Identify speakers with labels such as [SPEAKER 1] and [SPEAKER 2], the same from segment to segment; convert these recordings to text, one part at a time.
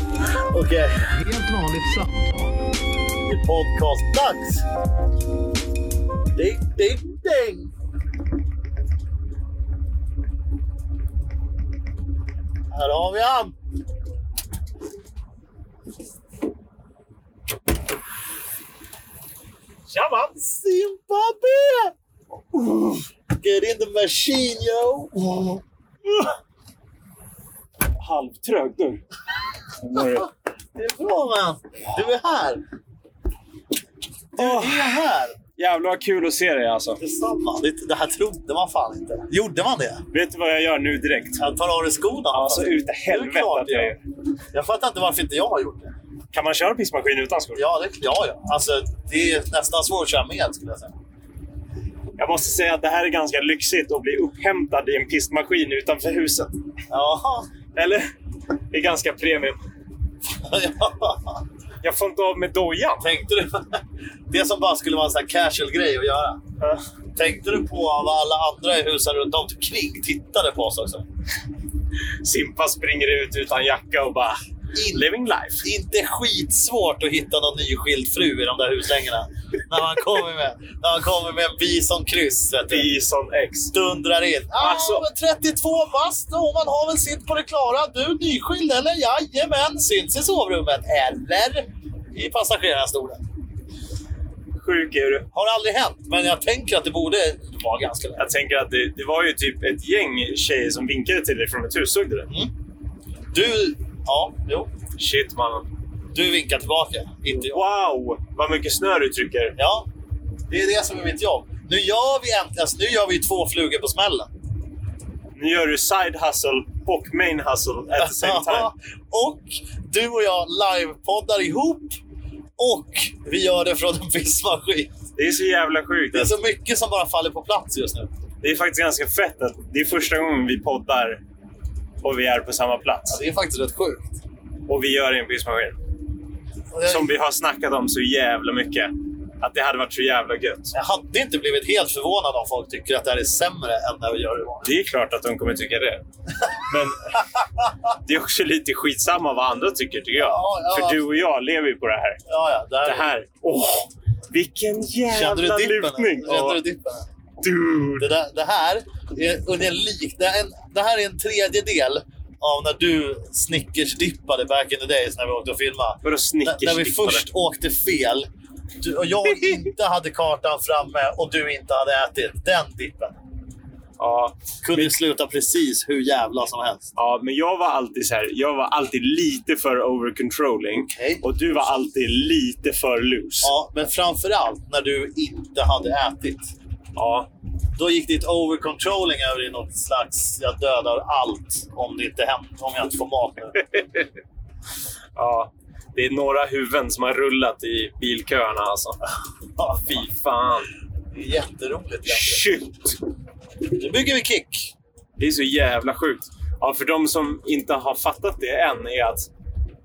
[SPEAKER 1] idag eh,
[SPEAKER 2] Helt vanligt samtal.
[SPEAKER 1] i podcastdags. Ding, ding, ding! Här har vi han!
[SPEAKER 3] Tjabba!
[SPEAKER 1] Zimbabwe! Get in the machine yo!
[SPEAKER 3] Halvtrög du.
[SPEAKER 1] Det är bra man! Du är här!
[SPEAKER 3] Åh,
[SPEAKER 1] Du är här!
[SPEAKER 3] jävlar vad kul att se dig alltså.
[SPEAKER 1] Detsamma. Det, det här trodde man fan inte. Gjorde man det?
[SPEAKER 3] Vet du vad jag gör nu direkt?
[SPEAKER 1] Jag tar av dig skorna.
[SPEAKER 3] Alltså
[SPEAKER 1] Fast-
[SPEAKER 3] ut i
[SPEAKER 1] Det är
[SPEAKER 3] helvete
[SPEAKER 1] klart
[SPEAKER 3] att jag
[SPEAKER 1] jag
[SPEAKER 3] gör.
[SPEAKER 1] Jag fattar inte varför inte jag har gjort det.
[SPEAKER 3] Kan man köra pissmaskin utan skor?
[SPEAKER 1] Ja, det, ja, ja. Alltså, det är nästan svårt att köra med skulle jag säga.
[SPEAKER 3] Jag måste säga att det här är ganska lyxigt att bli upphämtad i en pissmaskin utanför huset.
[SPEAKER 1] Ja.
[SPEAKER 3] Eller? Det är ganska premium.
[SPEAKER 1] ja.
[SPEAKER 3] Jag får inte av med dojan.
[SPEAKER 1] Tänkte du... Det som bara skulle vara en sån här casual grej att göra.
[SPEAKER 3] Ja.
[SPEAKER 1] Tänkte du på vad alla andra i husen runt omkring tittade på oss också?
[SPEAKER 3] Simpa springer ut utan jacka och bara...
[SPEAKER 1] In-
[SPEAKER 3] Living life.
[SPEAKER 1] Inte skitsvårt att hitta någon nyskild fru i de där huslängorna. när, man kommer med, när man kommer med en bison-kryss. vet du.
[SPEAKER 3] Bison X.
[SPEAKER 1] dundrar in. Ja,
[SPEAKER 3] Alltså-
[SPEAKER 1] men 32 bast och man har väl sitt på det klara. Du nyskild eller? Jajamän, syns i sovrummet. Eller i passagerarstolen.
[SPEAKER 3] Sjuk är du.
[SPEAKER 1] Har aldrig hänt, men jag tänker att det borde vara ganska lätt.
[SPEAKER 3] Jag tänker att det, det var ju typ ett gäng tjejer som vinkade till dig från ett hus. Såg du det?
[SPEAKER 1] Du, ja, jo.
[SPEAKER 3] Shit mannen.
[SPEAKER 1] Du vinkar tillbaka, inte jag.
[SPEAKER 3] Wow, vad mycket snö du trycker.
[SPEAKER 1] Ja, det är det som är mitt jobb. Nu gör vi äntligen, alltså, nu gör vi ju två flugor på smällen.
[SPEAKER 3] Nu gör du side hustle och main hustle at the same time.
[SPEAKER 1] och du och jag livepoddar ihop och vi gör det från en pissmaskin.
[SPEAKER 3] Det är så jävla sjukt.
[SPEAKER 1] Det är
[SPEAKER 3] alltså.
[SPEAKER 1] så mycket som bara faller på plats just nu.
[SPEAKER 3] Det är faktiskt ganska fett att det är första gången vi poddar och vi är på samma plats.
[SPEAKER 1] det är faktiskt rätt sjukt.
[SPEAKER 3] Och vi gör det i en pissmaskin. Som vi har snackat om så jävla mycket. Att det hade varit så jävla gött.
[SPEAKER 1] Jag hade inte blivit helt förvånad om folk tycker att det här är sämre än när vi gör det vanligt.
[SPEAKER 3] Det är klart att de kommer tycka det. Men det är också lite skitsamma vad andra tycker, tycker jag.
[SPEAKER 1] Ja, ja,
[SPEAKER 3] För du och jag lever ju på det här.
[SPEAKER 1] Ja, ja. Det här,
[SPEAKER 3] Det här. Åh, vilken
[SPEAKER 1] Kände
[SPEAKER 3] jävla
[SPEAKER 1] du dippen?
[SPEAKER 3] lutning!
[SPEAKER 1] Kände du dippen?
[SPEAKER 3] Åh, dude.
[SPEAKER 1] Det, där, det här är ungefär likt... Det, är en- det här är en tredjedel av när du snickersdippade back in the days när vi åkte och filmade. När,
[SPEAKER 3] Vadå
[SPEAKER 1] när vi
[SPEAKER 3] snickersdippare?
[SPEAKER 1] först åkte fel du, och jag inte hade kartan framme och du inte hade ätit. Den dippen
[SPEAKER 3] Ja,
[SPEAKER 1] kunde ju sluta precis hur jävla som helst.
[SPEAKER 3] ja, men jag var alltid så här, jag var alltid lite för overcontrolling.
[SPEAKER 1] Okej.
[SPEAKER 3] Och du var alltid lite för loose. Ja.
[SPEAKER 1] Ja, men framför allt när du inte hade ätit. Då gick ditt overcontrolling över i något slags jag dödar allt om det inte händer, om jag inte får mat nu.
[SPEAKER 3] ja. Det är några huvuden som har rullat i bilköerna alltså.
[SPEAKER 1] Ja, fy.
[SPEAKER 3] Fy fan.
[SPEAKER 1] Det är jätteroligt. egentligen.
[SPEAKER 3] Shit!
[SPEAKER 1] Nu bygger vi kick.
[SPEAKER 3] Det är så jävla sjukt. Ja, för de som inte har fattat det än är att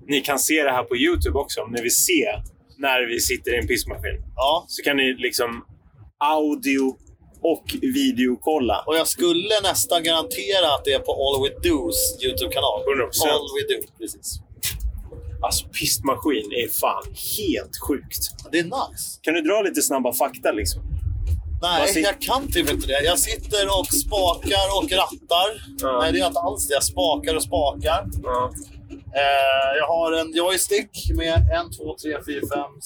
[SPEAKER 3] ni kan se det här på Youtube också. Om ni vill se när vi sitter i en pissmaskin.
[SPEAKER 1] Ja.
[SPEAKER 3] Så kan ni liksom audio och videokolla.
[SPEAKER 1] Och jag skulle nästan garantera att det är på All We Do's YouTube-kanal.
[SPEAKER 3] 100%.
[SPEAKER 1] All We Do, precis.
[SPEAKER 3] Alltså pissmaskin är fan helt sjukt.
[SPEAKER 1] Det är nice.
[SPEAKER 3] Kan du dra lite snabba fakta liksom? Vad
[SPEAKER 1] Nej,
[SPEAKER 3] sit-
[SPEAKER 1] jag kan typ inte det. Jag sitter och spakar och rattar.
[SPEAKER 3] Ja.
[SPEAKER 1] Nej, det är inte alls det. Jag spakar och spakar.
[SPEAKER 3] Ja.
[SPEAKER 1] Eh, jag har en joystick med en, två, tre, fyra, fem,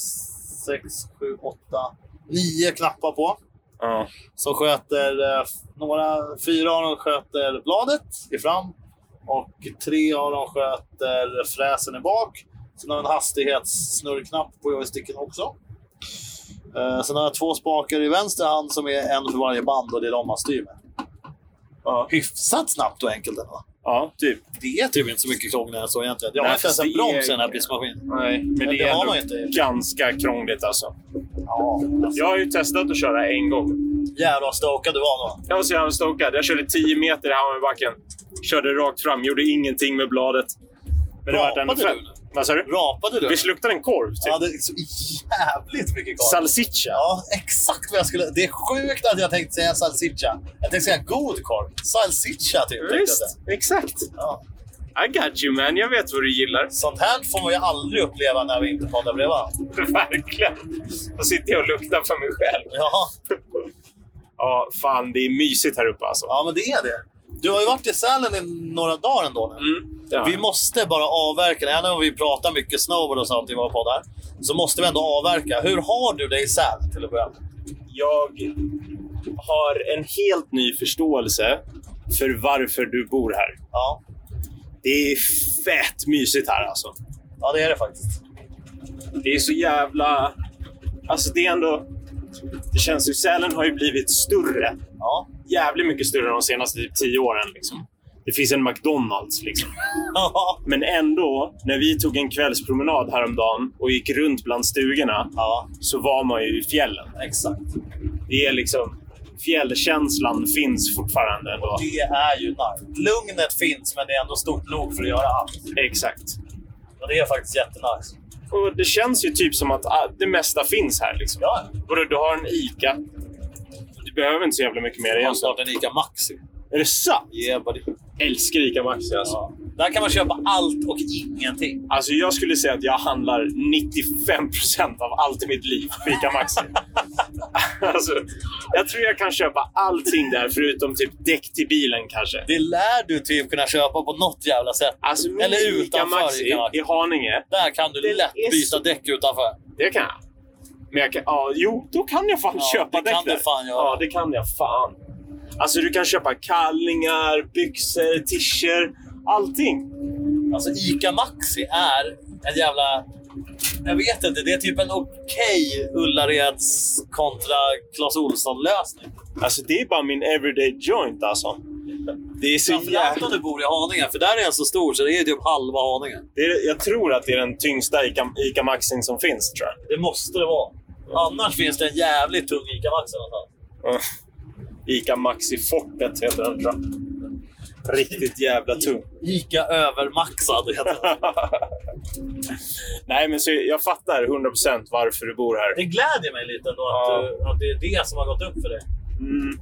[SPEAKER 1] sex, sju, åtta, nio knappar på.
[SPEAKER 3] ja.
[SPEAKER 1] Som sköter eh, några, fyra av dem sköter bladet i fram och tre av dem sköter fräsen i bak. Sen har jag en hastighetssnurrknapp på joysticken också. Eh, sen har jag två spakar i vänster hand som är en för varje band och det är de man styr med.
[SPEAKER 3] Ja.
[SPEAKER 1] Hyfsat snabbt och enkelt ändå.
[SPEAKER 3] ja, typ.
[SPEAKER 1] Det är typ inte så mycket krångligare än så egentligen. Jag har
[SPEAKER 3] Nej,
[SPEAKER 1] inte ens en
[SPEAKER 3] fast det
[SPEAKER 1] broms
[SPEAKER 3] är-
[SPEAKER 1] i den här pissmaskinen.
[SPEAKER 3] Nej, men,
[SPEAKER 1] Men
[SPEAKER 3] det
[SPEAKER 1] det
[SPEAKER 3] är
[SPEAKER 1] har
[SPEAKER 3] ändå
[SPEAKER 1] man inte.
[SPEAKER 3] ganska krångligt alltså.
[SPEAKER 1] Ja, alltså,
[SPEAKER 3] Jag har ju testat att köra en gång.
[SPEAKER 1] jävlar vad stokad du var då.
[SPEAKER 3] Jag var så jävla stokad. Jag körde 10 meter i Hammarbybacken. Körde rakt fram, gjorde ingenting med bladet. Men det vart ändå
[SPEAKER 1] Rapade
[SPEAKER 3] fett.
[SPEAKER 1] du nu?
[SPEAKER 3] Vad sa du?
[SPEAKER 1] Rapade du?
[SPEAKER 3] Visst luktar en korv? Typ.
[SPEAKER 1] Ja, det är så jävligt mycket kvar.
[SPEAKER 3] Salsiccia.
[SPEAKER 1] Ja, exakt vad jag skulle... Det är sjukt att jag tänkte säga salsiccia. Jag tänkte säga god korv. Salsiccia, typ. tänkte jag säga.
[SPEAKER 3] Visst, exakt.
[SPEAKER 1] Ja.
[SPEAKER 3] I got you man, jag vet vad du gillar.
[SPEAKER 1] Sånt här får man ju aldrig uppleva när vi inte poddar bredvid varandra.
[SPEAKER 3] Verkligen. Då sitter jag och luktar för mig själv.
[SPEAKER 1] Ja.
[SPEAKER 3] Ja, fan det är mysigt här uppe alltså.
[SPEAKER 1] ja, men det är det. Du har ju varit i Sälen i några dagar ändå nu.
[SPEAKER 3] Mm, ja.
[SPEAKER 1] Vi måste bara avverka, det. även om vi pratar mycket snowboard och sånt i våra poddar, så måste vi ändå avverka. Hur har du det i Sälen till att börja med?
[SPEAKER 3] jag har en helt ny förståelse för varför du bor här.
[SPEAKER 1] Ja.
[SPEAKER 3] Det är fett mysigt här alltså.
[SPEAKER 1] ja, det är det faktiskt.
[SPEAKER 3] Det är så jävla... Alltså det är ändå... Det känns ju... Sälen har ju blivit större.
[SPEAKER 1] Ja.
[SPEAKER 3] Jävligt mycket större de senaste typ tio åren. Liksom. Det finns en McDonalds liksom.
[SPEAKER 1] ja.
[SPEAKER 3] Men ändå, när vi tog en kvällspromenad häromdagen och gick runt bland stugorna
[SPEAKER 1] ja,
[SPEAKER 3] så var man ju i fjällen.
[SPEAKER 1] exakt.
[SPEAKER 3] Det är liksom... Fjällkänslan finns fortfarande ändå.
[SPEAKER 1] Det är ju nice. Lugnet finns, men det är ändå stort nog för att göra allt.
[SPEAKER 3] Exakt.
[SPEAKER 1] Och det är faktiskt jättenice.
[SPEAKER 3] Och det känns ju typ som att ah, det mesta finns här. Liksom.
[SPEAKER 1] Ja,
[SPEAKER 3] Vadå, du har en ICA. Du behöver inte så jävla mycket mer
[SPEAKER 1] jag har
[SPEAKER 3] egentligen.
[SPEAKER 1] snart en ICA Maxi.
[SPEAKER 3] Är det sant?
[SPEAKER 1] Yeah, buddy.
[SPEAKER 3] Älskar ICA Maxi alltså.
[SPEAKER 1] Ja. Där kan man köpa allt och ingenting.
[SPEAKER 3] Alltså jag skulle säga att jag handlar 95% av allt i mitt liv på ICA Maxi. alltså, jag tror jag kan köpa allting där förutom typ däck till bilen kanske.
[SPEAKER 1] Det lär du typ kunna köpa på något jävla sätt.
[SPEAKER 3] Alltså min
[SPEAKER 1] Eller
[SPEAKER 3] ICA
[SPEAKER 1] utanför
[SPEAKER 3] Maxi
[SPEAKER 1] ICA Maxi.
[SPEAKER 3] i Haninge,
[SPEAKER 1] Där kan
[SPEAKER 3] Det
[SPEAKER 1] du lätt
[SPEAKER 3] är
[SPEAKER 1] byta
[SPEAKER 3] så-
[SPEAKER 1] däck utanför.
[SPEAKER 3] det kan jag. Men jag kan, ja, jo, då kan jag fan
[SPEAKER 1] Ja,
[SPEAKER 3] köpa
[SPEAKER 1] det
[SPEAKER 3] däck
[SPEAKER 1] kan
[SPEAKER 3] där.
[SPEAKER 1] du fan göra.
[SPEAKER 3] Ja, det kan jag fan. Alltså du kan köpa kallingar, byxor, t-shirts, allting.
[SPEAKER 1] Alltså ICA Maxi är en jävla... Jag vet inte, det är typ en okej Ullareds kontra Clas Ohlson-lösning.
[SPEAKER 3] Alltså det är bara min everyday joint alltså. Det är så
[SPEAKER 1] Framförallt om
[SPEAKER 3] jävla...
[SPEAKER 1] du bor i Haninge, för där är den så stor så det är typ halva Haninge.
[SPEAKER 3] Det är, jag tror att det är den tyngsta Ica, Ica Maxin som finns tror jag.
[SPEAKER 1] Det måste det vara. Annars finns det en jävligt tung ICA Maxi någonstans.
[SPEAKER 3] Ja. Ica Maxi-fortet heter den tror jag. Riktigt jävla tung.
[SPEAKER 1] ICA övermaxad heter det.
[SPEAKER 3] Nej men så jag fattar 100% varför du bor här.
[SPEAKER 1] Det gläder mig lite ändå att,
[SPEAKER 3] Ja.
[SPEAKER 1] du, att det är det som har gått upp för dig.
[SPEAKER 3] Mm.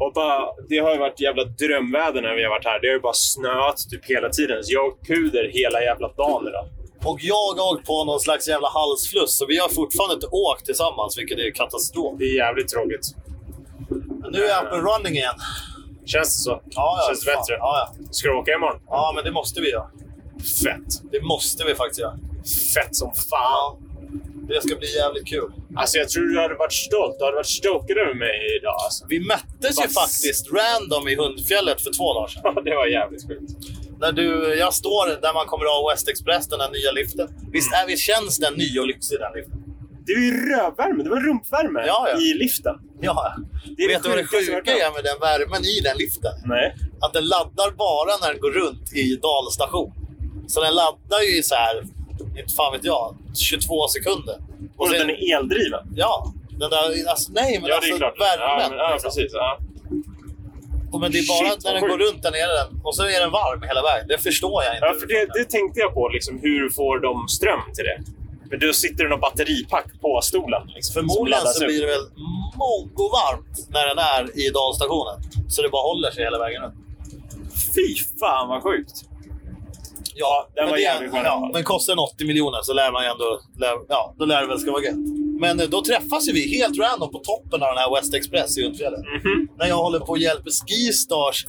[SPEAKER 3] Och bara, det har ju varit jävla drömväder när vi har varit här. Det har ju bara snöat typ hela tiden. Så jag har åkt puder hela jävla dagen idag.
[SPEAKER 1] Och jag har åkt på någon slags jävla halsfluss, så vi har fortfarande inte åkt tillsammans, vilket är katastrof.
[SPEAKER 3] Det är jävligt tråkigt.
[SPEAKER 1] Men nu är jag up and running igen.
[SPEAKER 3] Känns det så?
[SPEAKER 1] Ja, ja,
[SPEAKER 3] Känns det
[SPEAKER 1] fan.
[SPEAKER 3] bättre?
[SPEAKER 1] Ja, ja.
[SPEAKER 3] Ska du åka imorgon?
[SPEAKER 1] ja, men det måste vi göra.
[SPEAKER 3] Fett.
[SPEAKER 1] Det måste vi faktiskt göra.
[SPEAKER 3] Fett som fan.
[SPEAKER 1] Det ska bli jävligt kul.
[SPEAKER 3] Alltså jag tror du hade varit stolt. Du hade varit stokad över mig idag. Alltså.
[SPEAKER 1] Vi möttes ju
[SPEAKER 3] Vad-
[SPEAKER 1] faktiskt random i Hundfjället för två dagar sedan.
[SPEAKER 3] Det var jävligt sjukt.
[SPEAKER 1] När du, jag står där man kommer av West Express, den här nya liften. Visst är vi, känns den ny och lyxig den liften?
[SPEAKER 3] Det var ju rövvärme. Det var rumpvärme
[SPEAKER 1] Ja, ja.
[SPEAKER 3] i liften.
[SPEAKER 1] Ja.
[SPEAKER 3] Det är
[SPEAKER 1] Vet du
[SPEAKER 3] det
[SPEAKER 1] vad det
[SPEAKER 3] sjukaste jag
[SPEAKER 1] sjuka
[SPEAKER 3] hört.
[SPEAKER 1] är med den värmen i den liften?
[SPEAKER 3] Nej.
[SPEAKER 1] Att den laddar bara när den går runt i dalstation. Så den laddar ju i så här, inte fan vet jag, 22 sekunder.
[SPEAKER 3] Och
[SPEAKER 1] sen-
[SPEAKER 3] den är eldriven.
[SPEAKER 1] Ja. Den där, alltså, nej, men
[SPEAKER 3] ja, det
[SPEAKER 1] alltså
[SPEAKER 3] är klart.
[SPEAKER 1] värmen.
[SPEAKER 3] ja, men, ja, precis. Ja.
[SPEAKER 1] Och Men det är bara
[SPEAKER 3] Shit,
[SPEAKER 1] när
[SPEAKER 3] vad
[SPEAKER 1] den går
[SPEAKER 3] sjukt.
[SPEAKER 1] runt där nere den, och så är den varm hela vägen. Det förstår jag inte.
[SPEAKER 3] Ja, för det, det tänkte jag på. Liksom, hur får de ström till det? Men då sitter det någon batteripack på stolen. Liksom, som
[SPEAKER 1] Förmodligen
[SPEAKER 3] laddas
[SPEAKER 1] så
[SPEAKER 3] upp.
[SPEAKER 1] blir det väl varmt när den är i dalstationen. Så det bara håller sig hela vägen runt.
[SPEAKER 3] Fy fan vad sjukt! Ja, den
[SPEAKER 1] men
[SPEAKER 3] var
[SPEAKER 1] det är-
[SPEAKER 3] jävligt skön i alla
[SPEAKER 1] ja,
[SPEAKER 3] fall.
[SPEAKER 1] Men kostar den 80 miljoner så lär man ju ändå... Lär, ja, då lär det väl ska vara gött. Men eh, då träffas ju vi helt random på toppen av den här West Express i Hundfjällen.
[SPEAKER 3] Mhm.
[SPEAKER 1] När jag håller på och hjälper Skistars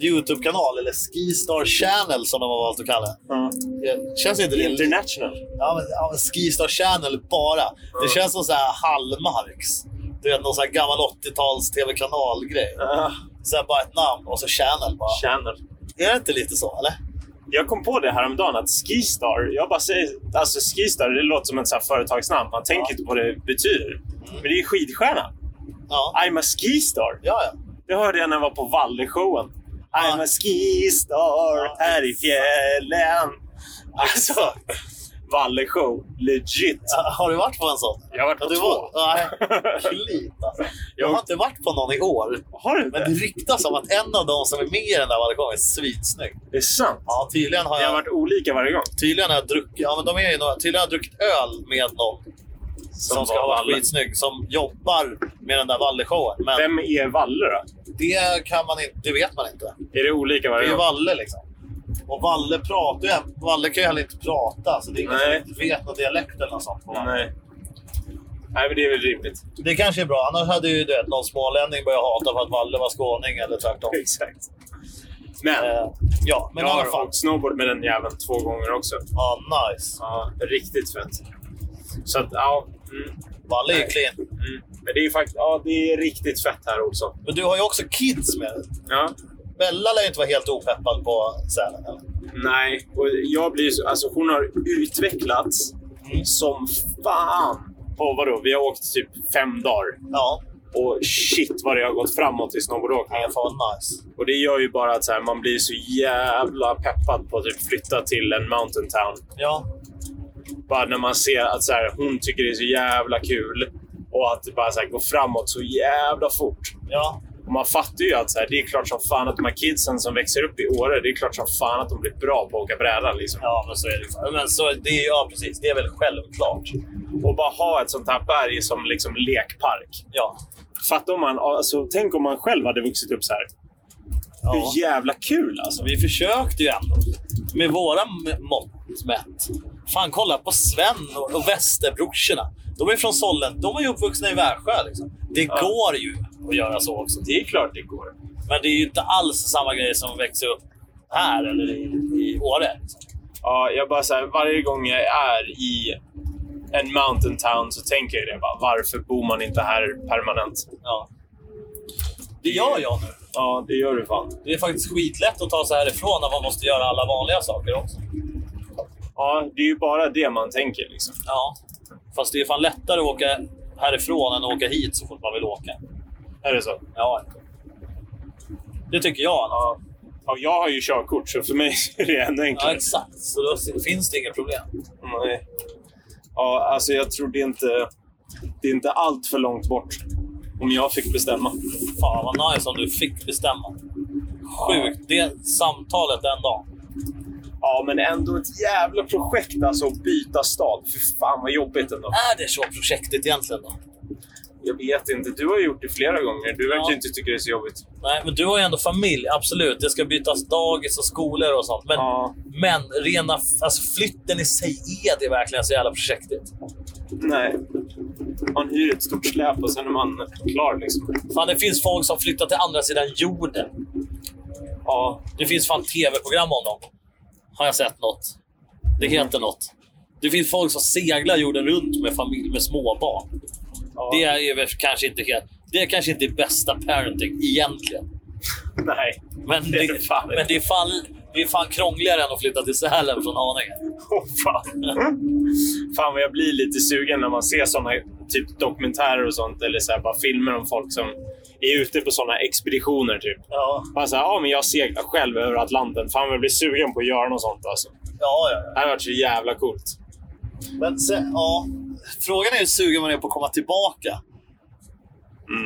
[SPEAKER 1] YouTube-kanal, eller Skistar Channel som de har valt att kalla den.
[SPEAKER 3] Ja.
[SPEAKER 1] Eh, Känns inte det
[SPEAKER 3] International.
[SPEAKER 1] Ja, men, ja, men Skistar Channel bara. Det känns som så här Hallmarks. Du vet, någon så här gammal 80-tals tv-kanalgrej.
[SPEAKER 3] Ah,
[SPEAKER 1] Så här bara ett namn och så Channel bara.
[SPEAKER 3] channel.
[SPEAKER 1] Är det inte lite så, eller?
[SPEAKER 3] Jag kom på det häromdagen att Skistar, jag bara säger, alltså Skistar det låter som ett så här företagsnamn. Man tänker
[SPEAKER 1] Ja.
[SPEAKER 3] inte på vad det
[SPEAKER 1] Mm.
[SPEAKER 3] betyder. Men det är skidstjärna.
[SPEAKER 1] Ja.
[SPEAKER 3] I'm a Skistar.
[SPEAKER 1] Ja, ja.
[SPEAKER 3] Det hörde jag när jag var på Valle-showen. I'm
[SPEAKER 1] Ja.
[SPEAKER 3] a skistar
[SPEAKER 1] Ja,
[SPEAKER 3] här i fjällen. Alltså, Valle-show. Legit.
[SPEAKER 1] Ja, Har du varit på en sån?
[SPEAKER 3] Jag har varit på
[SPEAKER 1] Ja, du
[SPEAKER 3] två.
[SPEAKER 1] var- Nej, klit alltså. Jag har inte varit på någon i år.
[SPEAKER 3] Har du inte?
[SPEAKER 1] Men det ryktas om att en av de som är med i den där balkongen är svinsnygg.
[SPEAKER 3] Det är sant.
[SPEAKER 1] Ja, tydligen har
[SPEAKER 3] Det har
[SPEAKER 1] jag...
[SPEAKER 3] varit olika varje gång.
[SPEAKER 1] Tydligen har jag druckit, ja, men de är ju några, tydligen har jag druckit öl med någon som, ska
[SPEAKER 3] var
[SPEAKER 1] ha varit
[SPEAKER 3] Valle.
[SPEAKER 1] skitsnygg, som jobbar med den där Valle-showen. Men
[SPEAKER 3] Vem är Valle då?
[SPEAKER 1] det kan man inte, det vet man inte.
[SPEAKER 3] Är det olika
[SPEAKER 1] Det är
[SPEAKER 3] varje
[SPEAKER 1] ju
[SPEAKER 3] gång?
[SPEAKER 1] Valle liksom. Och Valle pratar ju... Valle kan ju heller inte prata, så det är ingen som
[SPEAKER 3] Nej.
[SPEAKER 1] riktigt vet någon dialekt eller något sånt. på honom.
[SPEAKER 3] Nej. Nej, men det är väl rimligt.
[SPEAKER 1] Det kanske är bra. Annars hade ju du vet, någon smålänning börjat hata för att Valle var skåning eller tvärtom.
[SPEAKER 3] Exakt. Men,
[SPEAKER 1] Eh, ja, men
[SPEAKER 3] jag
[SPEAKER 1] i alla
[SPEAKER 3] har
[SPEAKER 1] fall.
[SPEAKER 3] åkt snowboard med den jäveln två gånger också.
[SPEAKER 1] Ja, nice.
[SPEAKER 3] Ja, riktigt fett. Så att, ja. Mm,
[SPEAKER 1] Valle är ju clean.
[SPEAKER 3] mm. Men det är ju faktiskt, ja, det är riktigt fett här också.
[SPEAKER 1] Men du har ju också kids med dig.
[SPEAKER 3] Ja.
[SPEAKER 1] Bella lär ju inte vara helt opeppad på Sälen. eller?
[SPEAKER 3] Nej, och jag blir så, alltså hon har utvecklats
[SPEAKER 1] Mm.
[SPEAKER 3] som fan. På vadå? Vi har åkt typ fem dagar.
[SPEAKER 1] Ja,
[SPEAKER 3] Och shit vad det har gått framåt i snowboardåkning.
[SPEAKER 1] men fan vad nice.
[SPEAKER 3] Och det gör ju bara att så här, man blir så jävla peppad på att typ flytta till en mountain town.
[SPEAKER 1] Ja,
[SPEAKER 3] Bara när man ser att så här, hon tycker det är så jävla kul. Och att det bara så här, går framåt så jävla fort.
[SPEAKER 1] ja.
[SPEAKER 3] Och man fattar ju att så här, det är klart som fan att de här kidsen som växer upp i Åre, det är klart som fan att de blir bra på att åka bräda. Liksom.
[SPEAKER 1] Ja, men så är det. Men så, det är, ja, precis. Det är väl självklart.
[SPEAKER 3] Och bara ha ett sånt här berg som liksom lekpark.
[SPEAKER 1] Ja.
[SPEAKER 3] Fatta om man, alltså, tänk om man själv hade vuxit upp så här.
[SPEAKER 1] ja.
[SPEAKER 3] Hur jävla kul alltså!
[SPEAKER 1] Så vi försökte ju ändå. Med våra m- mått mätt. Fan, kolla på Sven och, och Västerbrorsorna. De är från Sollen. De var ju uppvuxna i Värsjö. Liksom. Det
[SPEAKER 3] Ja.
[SPEAKER 1] går ju att göra så också.
[SPEAKER 3] Det är klart det går.
[SPEAKER 1] Men det är ju inte alls samma grej som växer upp här eller i, i Åre. Liksom.
[SPEAKER 3] Ja, jag bara så här, varje gång jag är i en mountain town så tänker jag det. Bara, varför bor man inte här permanent?
[SPEAKER 1] Ja. Det gör jag nu.
[SPEAKER 3] Ja, det gör du fan.
[SPEAKER 1] Det är faktiskt skitlätt att ta sig härifrån när man måste göra alla vanliga saker också.
[SPEAKER 3] Ja, det är ju bara det man tänker liksom.
[SPEAKER 1] Ja. Fast det är fan lättare att åka härifrån än att åka hit så fort man vill åka.
[SPEAKER 3] Är det så?
[SPEAKER 1] Ja. Det tycker jag. Ja,
[SPEAKER 3] Ja. ja jag har ju körkort så för mig är det ännu enklare.
[SPEAKER 1] exakt. Så då finns det inga problem.
[SPEAKER 3] Nej. Ja, alltså jag tror det är inte, det är inte allt för långt bort. Om jag fick bestämma.
[SPEAKER 1] Fan vad nice om du fick bestämma. Sjukt. Det samtalet den dagen.
[SPEAKER 3] Ja, men ändå ett jävla projekt alltså att byta stad. Fy fan vad jobbigt ändå.
[SPEAKER 1] Är det så projektet egentligen då?
[SPEAKER 3] Jag vet inte, du har gjort det flera gånger. Du verkar
[SPEAKER 1] Ja.
[SPEAKER 3] ju inte tycka det är så jobbigt.
[SPEAKER 1] Nej, men du har ju ändå familj. Absolut, det ska bytas dagis och skolor och sånt. Men,
[SPEAKER 3] Ja.
[SPEAKER 1] men rena, f- alltså flytten i sig, är det verkligen så jävla projektigt?
[SPEAKER 3] Nej. Man hyr ett stort släp och sen är man klar liksom.
[SPEAKER 1] Fan, det finns folk som flyttar till andra sidan jorden.
[SPEAKER 3] Ja,
[SPEAKER 1] Det finns fan tv-program om dem. Har jag sett något. Det heter något. Det finns folk som seglar jorden runt med familj med småbarn.
[SPEAKER 3] ja.
[SPEAKER 1] Det är väl kanske inte helt... Det är kanske inte bästa parenting egentligen.
[SPEAKER 3] Nej.
[SPEAKER 1] Men
[SPEAKER 3] Det
[SPEAKER 1] det,
[SPEAKER 3] är det fan
[SPEAKER 1] men det, är, fan, det är fan krångligare än att flytta till Sälen från Haninge.
[SPEAKER 3] Åh fan. fan vad jag blir lite sugen när man ser såna typ dokumentärer och sånt. Eller så här, bara filmer om folk som är ute på såna expeditioner. Typ.
[SPEAKER 1] Ja,
[SPEAKER 3] Bara så här, ja men jag seglar själv över Atlanten. Fan vad jag blir sugen på att göra något sånt alltså.
[SPEAKER 1] ja, ja.
[SPEAKER 3] Det hade varit så jävla coolt.
[SPEAKER 1] Men se, ja, frågan är hur sugen man är på att komma tillbaka.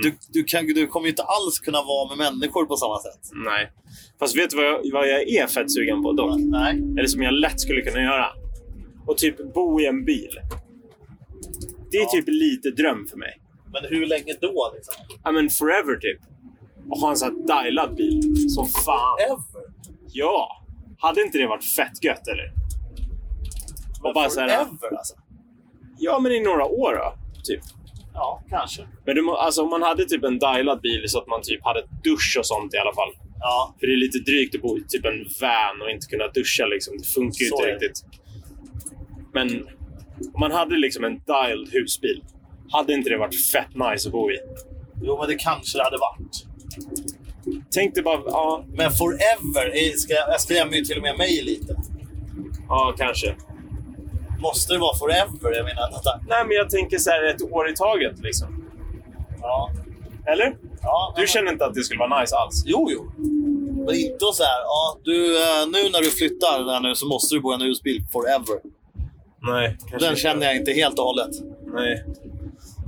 [SPEAKER 1] Du, du, kan, du kommer ju inte alls kunna vara med människor på samma sätt.
[SPEAKER 3] Nej. Fast vet du vad jag, vad jag är fett sugen på dock?
[SPEAKER 1] Nej.
[SPEAKER 3] Eller som jag lätt skulle kunna göra. Och typ bo i en bil. Det är
[SPEAKER 1] Ja.
[SPEAKER 3] typ lite dröm för mig.
[SPEAKER 1] Men hur länge då? Liksom?
[SPEAKER 3] Ja men forever typ. Och ha en sån här dialad bil. Som fan.
[SPEAKER 1] Ever.
[SPEAKER 3] Ja! Hade inte det varit fett gött eller?
[SPEAKER 1] Men
[SPEAKER 3] bara så här-
[SPEAKER 1] forever, alltså.
[SPEAKER 3] Ja men i några år då. Typ.
[SPEAKER 1] Ja, kanske.
[SPEAKER 3] Men du, må- alltså, om man hade typ en dialad bil så att man typ hade dusch och sånt i alla fall.
[SPEAKER 1] Ja,
[SPEAKER 3] För det är lite drygt att bo i typ en van och inte kunna duscha. Liksom. Det funkar ju
[SPEAKER 1] Så
[SPEAKER 3] inte
[SPEAKER 1] är det.
[SPEAKER 3] riktigt. Men om man hade liksom en dialed husbil, hade inte det varit fett nice att bo i?
[SPEAKER 1] jo men det kanske det hade varit.
[SPEAKER 3] Tänk dig bara... Ja,
[SPEAKER 1] Men forever är- ska- skrämmer ju till och med mig lite.
[SPEAKER 3] ja kanske.
[SPEAKER 1] Måste det vara forever? Jag menar, detta.
[SPEAKER 3] Nej, men jag tänker så här ett år i taget. Liksom.
[SPEAKER 1] Ja.
[SPEAKER 3] Eller?
[SPEAKER 1] Ja,
[SPEAKER 3] Du
[SPEAKER 1] men-
[SPEAKER 3] känner inte att det skulle vara nice alls?
[SPEAKER 1] Jo, jo. Men inte så här, ja, du, eh, nu när du flyttar där nu så måste du bo i en husbil forever.
[SPEAKER 3] Nej.
[SPEAKER 1] Den känner jag inte helt och hållet.
[SPEAKER 3] Nej.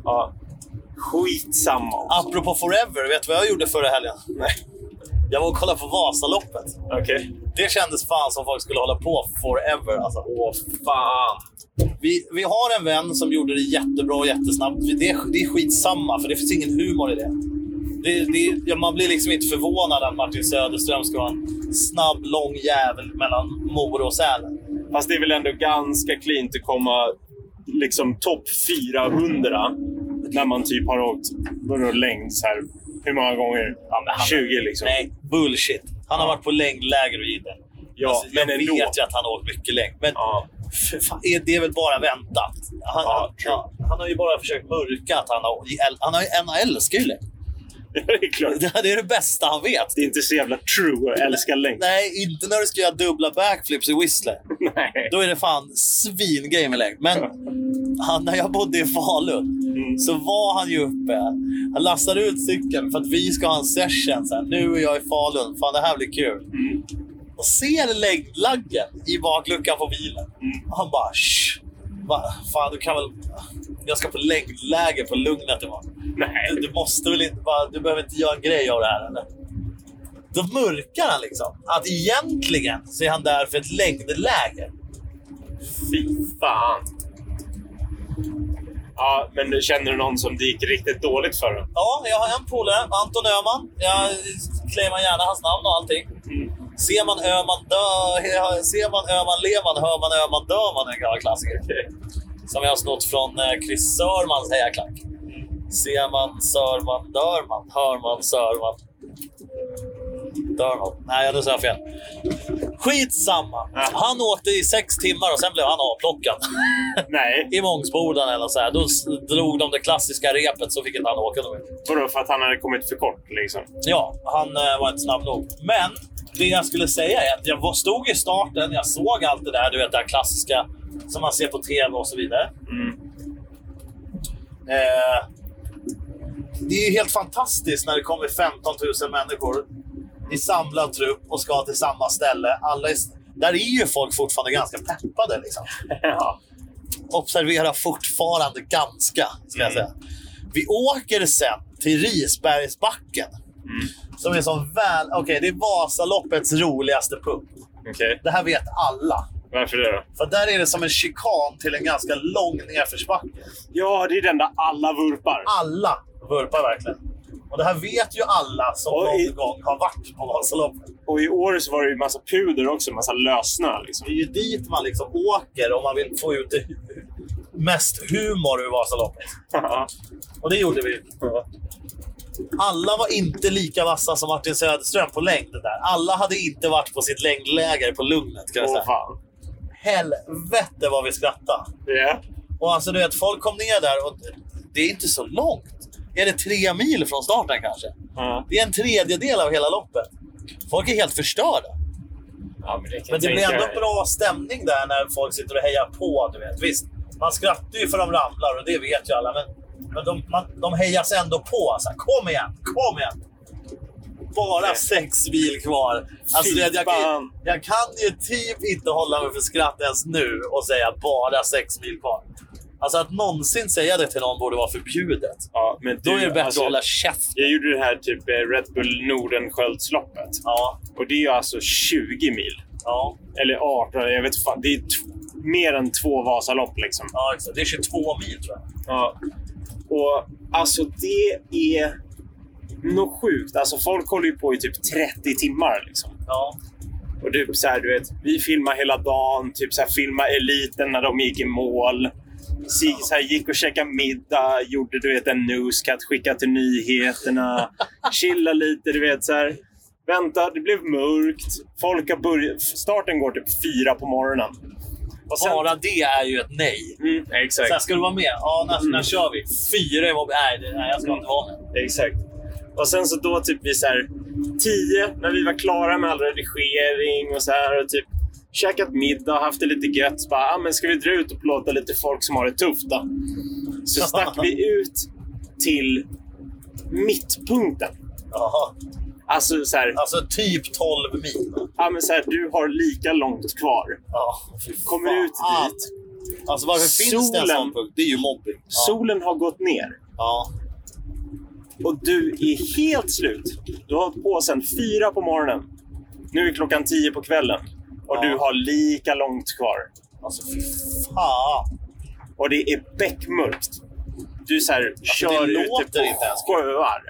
[SPEAKER 3] Ja. Skitsamma.
[SPEAKER 1] Apropå forever, vet du vad jag gjorde förra helgen?
[SPEAKER 3] Nej.
[SPEAKER 1] Jag var och kollade på Vasaloppet.
[SPEAKER 3] Okej.
[SPEAKER 1] Det kändes fan som folk skulle hålla på forever. Alltså.
[SPEAKER 3] Åh, fan.
[SPEAKER 1] Vi, vi har en vän som gjorde det jättebra och jättesnabbt. Det är, det är skitsamma, för det finns ingen humor i det. Det, det, ja, man blir liksom inte förvånad att Martin Söderström ska vara en snabb, lång jävel mellan Mora och Sälen.
[SPEAKER 3] Fast det är väl ändå ganska cleant att komma liksom topp 400 när man typ har åkt vadå, längd så här, hur många gånger?
[SPEAKER 1] Ja, men han-
[SPEAKER 3] 20 liksom.
[SPEAKER 1] Nej, bullshit. Han har
[SPEAKER 3] Ja.
[SPEAKER 1] varit på längdläger och gider.
[SPEAKER 3] Ja,
[SPEAKER 1] alltså, jag
[SPEAKER 3] men
[SPEAKER 1] vet
[SPEAKER 3] ändå.
[SPEAKER 1] ju att han har åkt mycket längd. Men
[SPEAKER 3] Ja.
[SPEAKER 1] för fan, är det är väl bara väntat? Han,
[SPEAKER 3] Ja,
[SPEAKER 1] han, ja, han har ju bara försökt mörka att han har... Han har ju, han älskar ju längd.
[SPEAKER 3] det är klart.
[SPEAKER 1] Det här är det bästa han vet.
[SPEAKER 3] Det är inte så jävla true att älska längd.
[SPEAKER 1] Nej, inte när du ska göra dubbla backflips i Whistler.
[SPEAKER 3] Nej.
[SPEAKER 1] Då är det fan svingrej med längd. Men han, när jag bodde i Falun
[SPEAKER 3] Mm.
[SPEAKER 1] så var han ju uppe. Han lastade ut cykeln för att vi ska ha en session. Så här, nu är jag i Falun. Fan, det här blir kul.
[SPEAKER 3] Mm.
[SPEAKER 1] Och ser längdlaggen i bakluckan på bilen.
[SPEAKER 3] Mm.
[SPEAKER 1] Och han bara... Shh. Bara, Fan, du kan väl... Jag ska på längdläger på Lugnet imorgon.
[SPEAKER 3] Nej.
[SPEAKER 1] Du, du måste väl inte bara, du behöver inte göra en grej av det här eller? Då mörkar han liksom att egentligen så är han där för ett längdläger.
[SPEAKER 3] Fy fan. Ja, men känner du någon som det gick riktigt dåligt för? då?
[SPEAKER 1] Ja, jag har en polare, Anton Öhman. Jag claimar gärna hans namn och allting.
[SPEAKER 3] Mm.
[SPEAKER 1] Ser man Öhman dö, ser man Öhman levan, hör man Öhman dör man en gammal klassiker. Som jag har snott från eh, Chris Sörmans hejaklack. Ser man Sörman dör man, hör man Sörman dör man. Nej, nu sa jag fel. Skitsamma.
[SPEAKER 3] Ja.
[SPEAKER 1] Han åkte i sex timmar och sen blev han avplockad.
[SPEAKER 3] Nej,
[SPEAKER 1] I Mångsbodan eller så här. Då s- drog de det klassiska repet så fick inte han åka. Då.
[SPEAKER 3] vadå? För att han hade kommit för kort liksom?
[SPEAKER 1] Ja, han eh, var inte snabb nog. Men det jag skulle säga är att jag var- stod i starten, jag såg allt det där, du vet det här klassiska som man ser på tv och så vidare.
[SPEAKER 3] Mm.
[SPEAKER 1] Eh, det är ju helt fantastiskt när det kommer 15 000 människor i samlad trupp och ska till samma ställe. Alla är, där är ju folk fortfarande ganska peppade. Liksom.
[SPEAKER 3] Ja.
[SPEAKER 1] Observera fortfarande ganska, ska jag
[SPEAKER 3] Mm.
[SPEAKER 1] säga. Vi åker sen till Risbergsbacken. Som är som väl... Okej, det är Vasaloppets roligaste punkt.
[SPEAKER 3] Okej,
[SPEAKER 1] Det här vet alla.
[SPEAKER 3] varför det då?
[SPEAKER 1] För där är det som en chikan till en ganska lång nedförsbacke.
[SPEAKER 3] Ja, det är den där alla vurpar.
[SPEAKER 1] alla vurpar verkligen. Och det här vet ju alla som
[SPEAKER 3] Och i-
[SPEAKER 1] någon gång har varit på Vasaloppet.
[SPEAKER 3] Och i år så var det ju massa puder också, massa lössnö. Liksom.
[SPEAKER 1] Det är ju dit man liksom åker om man vill få ut det hu- mest humor ur Vasaloppet.
[SPEAKER 3] Ja.
[SPEAKER 1] Och det gjorde vi. Alla var inte lika vassa som Martin Söderström på längd där. Alla hade inte varit på sitt längdläger på Lugnet. Kan jag
[SPEAKER 3] Åh
[SPEAKER 1] säga.
[SPEAKER 3] fan.
[SPEAKER 1] Helvete vad vi skrattade.
[SPEAKER 3] Ja.
[SPEAKER 1] Och alltså du vet, folk kom ner där och det är inte så långt. Är det tre mil från starten kanske?
[SPEAKER 3] Ja.
[SPEAKER 1] Det är en tredjedel av hela loppet. Folk är helt förstörda.
[SPEAKER 3] Ja, men det,
[SPEAKER 1] Men
[SPEAKER 3] kan jag
[SPEAKER 1] det blir
[SPEAKER 3] tänka
[SPEAKER 1] ändå
[SPEAKER 3] mig.
[SPEAKER 1] bra stämning där när folk sitter och hejar på. Du vet. Visst, man skrattar ju för de ramlar och det vet ju alla. Men, men de, man, de hejas ändå på. Så här, kom igen, kom igen! Bara
[SPEAKER 3] Nej.
[SPEAKER 1] sex mil kvar. Alltså,
[SPEAKER 3] Fy
[SPEAKER 1] du vet, jag, kan,
[SPEAKER 3] fan.
[SPEAKER 1] jag kan ju typ inte hålla mig för skratt ens nu och säga bara sex mil kvar. Alltså att någonsin säga det till någon borde vara förbjudet.
[SPEAKER 3] Ja, men
[SPEAKER 1] Då
[SPEAKER 3] du,
[SPEAKER 1] är det bättre
[SPEAKER 3] alltså,
[SPEAKER 1] att hålla käften.
[SPEAKER 3] Jag gjorde det här typ eh, Red Bull Nordenskiöldsloppet.
[SPEAKER 1] Ja,
[SPEAKER 3] Och det är ju alltså 20 mil.
[SPEAKER 1] ja,
[SPEAKER 3] Eller 18, jag vet fan. Det är t- mer än två Vasalopp liksom.
[SPEAKER 1] ja, exakt. Det är 22 mil tror jag.
[SPEAKER 3] Ja. Och alltså det är något sjukt. Alltså folk håller ju på i typ 30 timmar liksom.
[SPEAKER 1] Ja.
[SPEAKER 3] Och typ så här, du vet, vi filmar hela dagen, typ så här, filma eliten när de gick i mål. Sig så här, gick och käkade middag, gjorde du vet, en newscut, skickade till nyheterna, chilla lite, du vet så här. Vänta, det blev mörkt. Folk har börjat, starten går typ fyra på morgonen. Och sen,
[SPEAKER 1] Bara det är ju ett nej.
[SPEAKER 3] mm, exakt.
[SPEAKER 1] Sen ska du vara med. Ja, när, när kör vi? Fyra i mobil. Nej, det- nej, jag ska
[SPEAKER 3] Mm.
[SPEAKER 1] inte vara med.
[SPEAKER 3] Exakt. Och sen så då typ vi så här, tio, när vi var klara med all redigering och så här och typ käkat middag, haft det lite gött. Så bara, ah, men ska vi dra ut och plåta lite folk som har det tufft då? Så stack vi ut till mittpunkten.
[SPEAKER 1] Jaha.
[SPEAKER 3] Alltså så här,
[SPEAKER 1] Alltså typ 12 mil.
[SPEAKER 3] ah, men så här du har lika långt kvar.
[SPEAKER 1] Ja, fy
[SPEAKER 3] Kommer
[SPEAKER 1] fan.
[SPEAKER 3] ut dit,
[SPEAKER 1] Alltså varför finns det en
[SPEAKER 3] Solen.
[SPEAKER 1] sån punkt? Det är ju mobbing. Ja.
[SPEAKER 3] solen har gått ner.
[SPEAKER 1] Ja.
[SPEAKER 3] och du är helt slut. Du har hållit på sedan fyra på morgonen. Nu är klockan tio på kvällen och
[SPEAKER 1] Ja.
[SPEAKER 3] du har lika långt kvar.
[SPEAKER 1] Alltså fy fan.
[SPEAKER 3] Och det är beckmörkt. Du så här,
[SPEAKER 1] Alltså, det
[SPEAKER 3] kör ute
[SPEAKER 1] låter
[SPEAKER 3] på
[SPEAKER 1] inte ens
[SPEAKER 3] sjöar.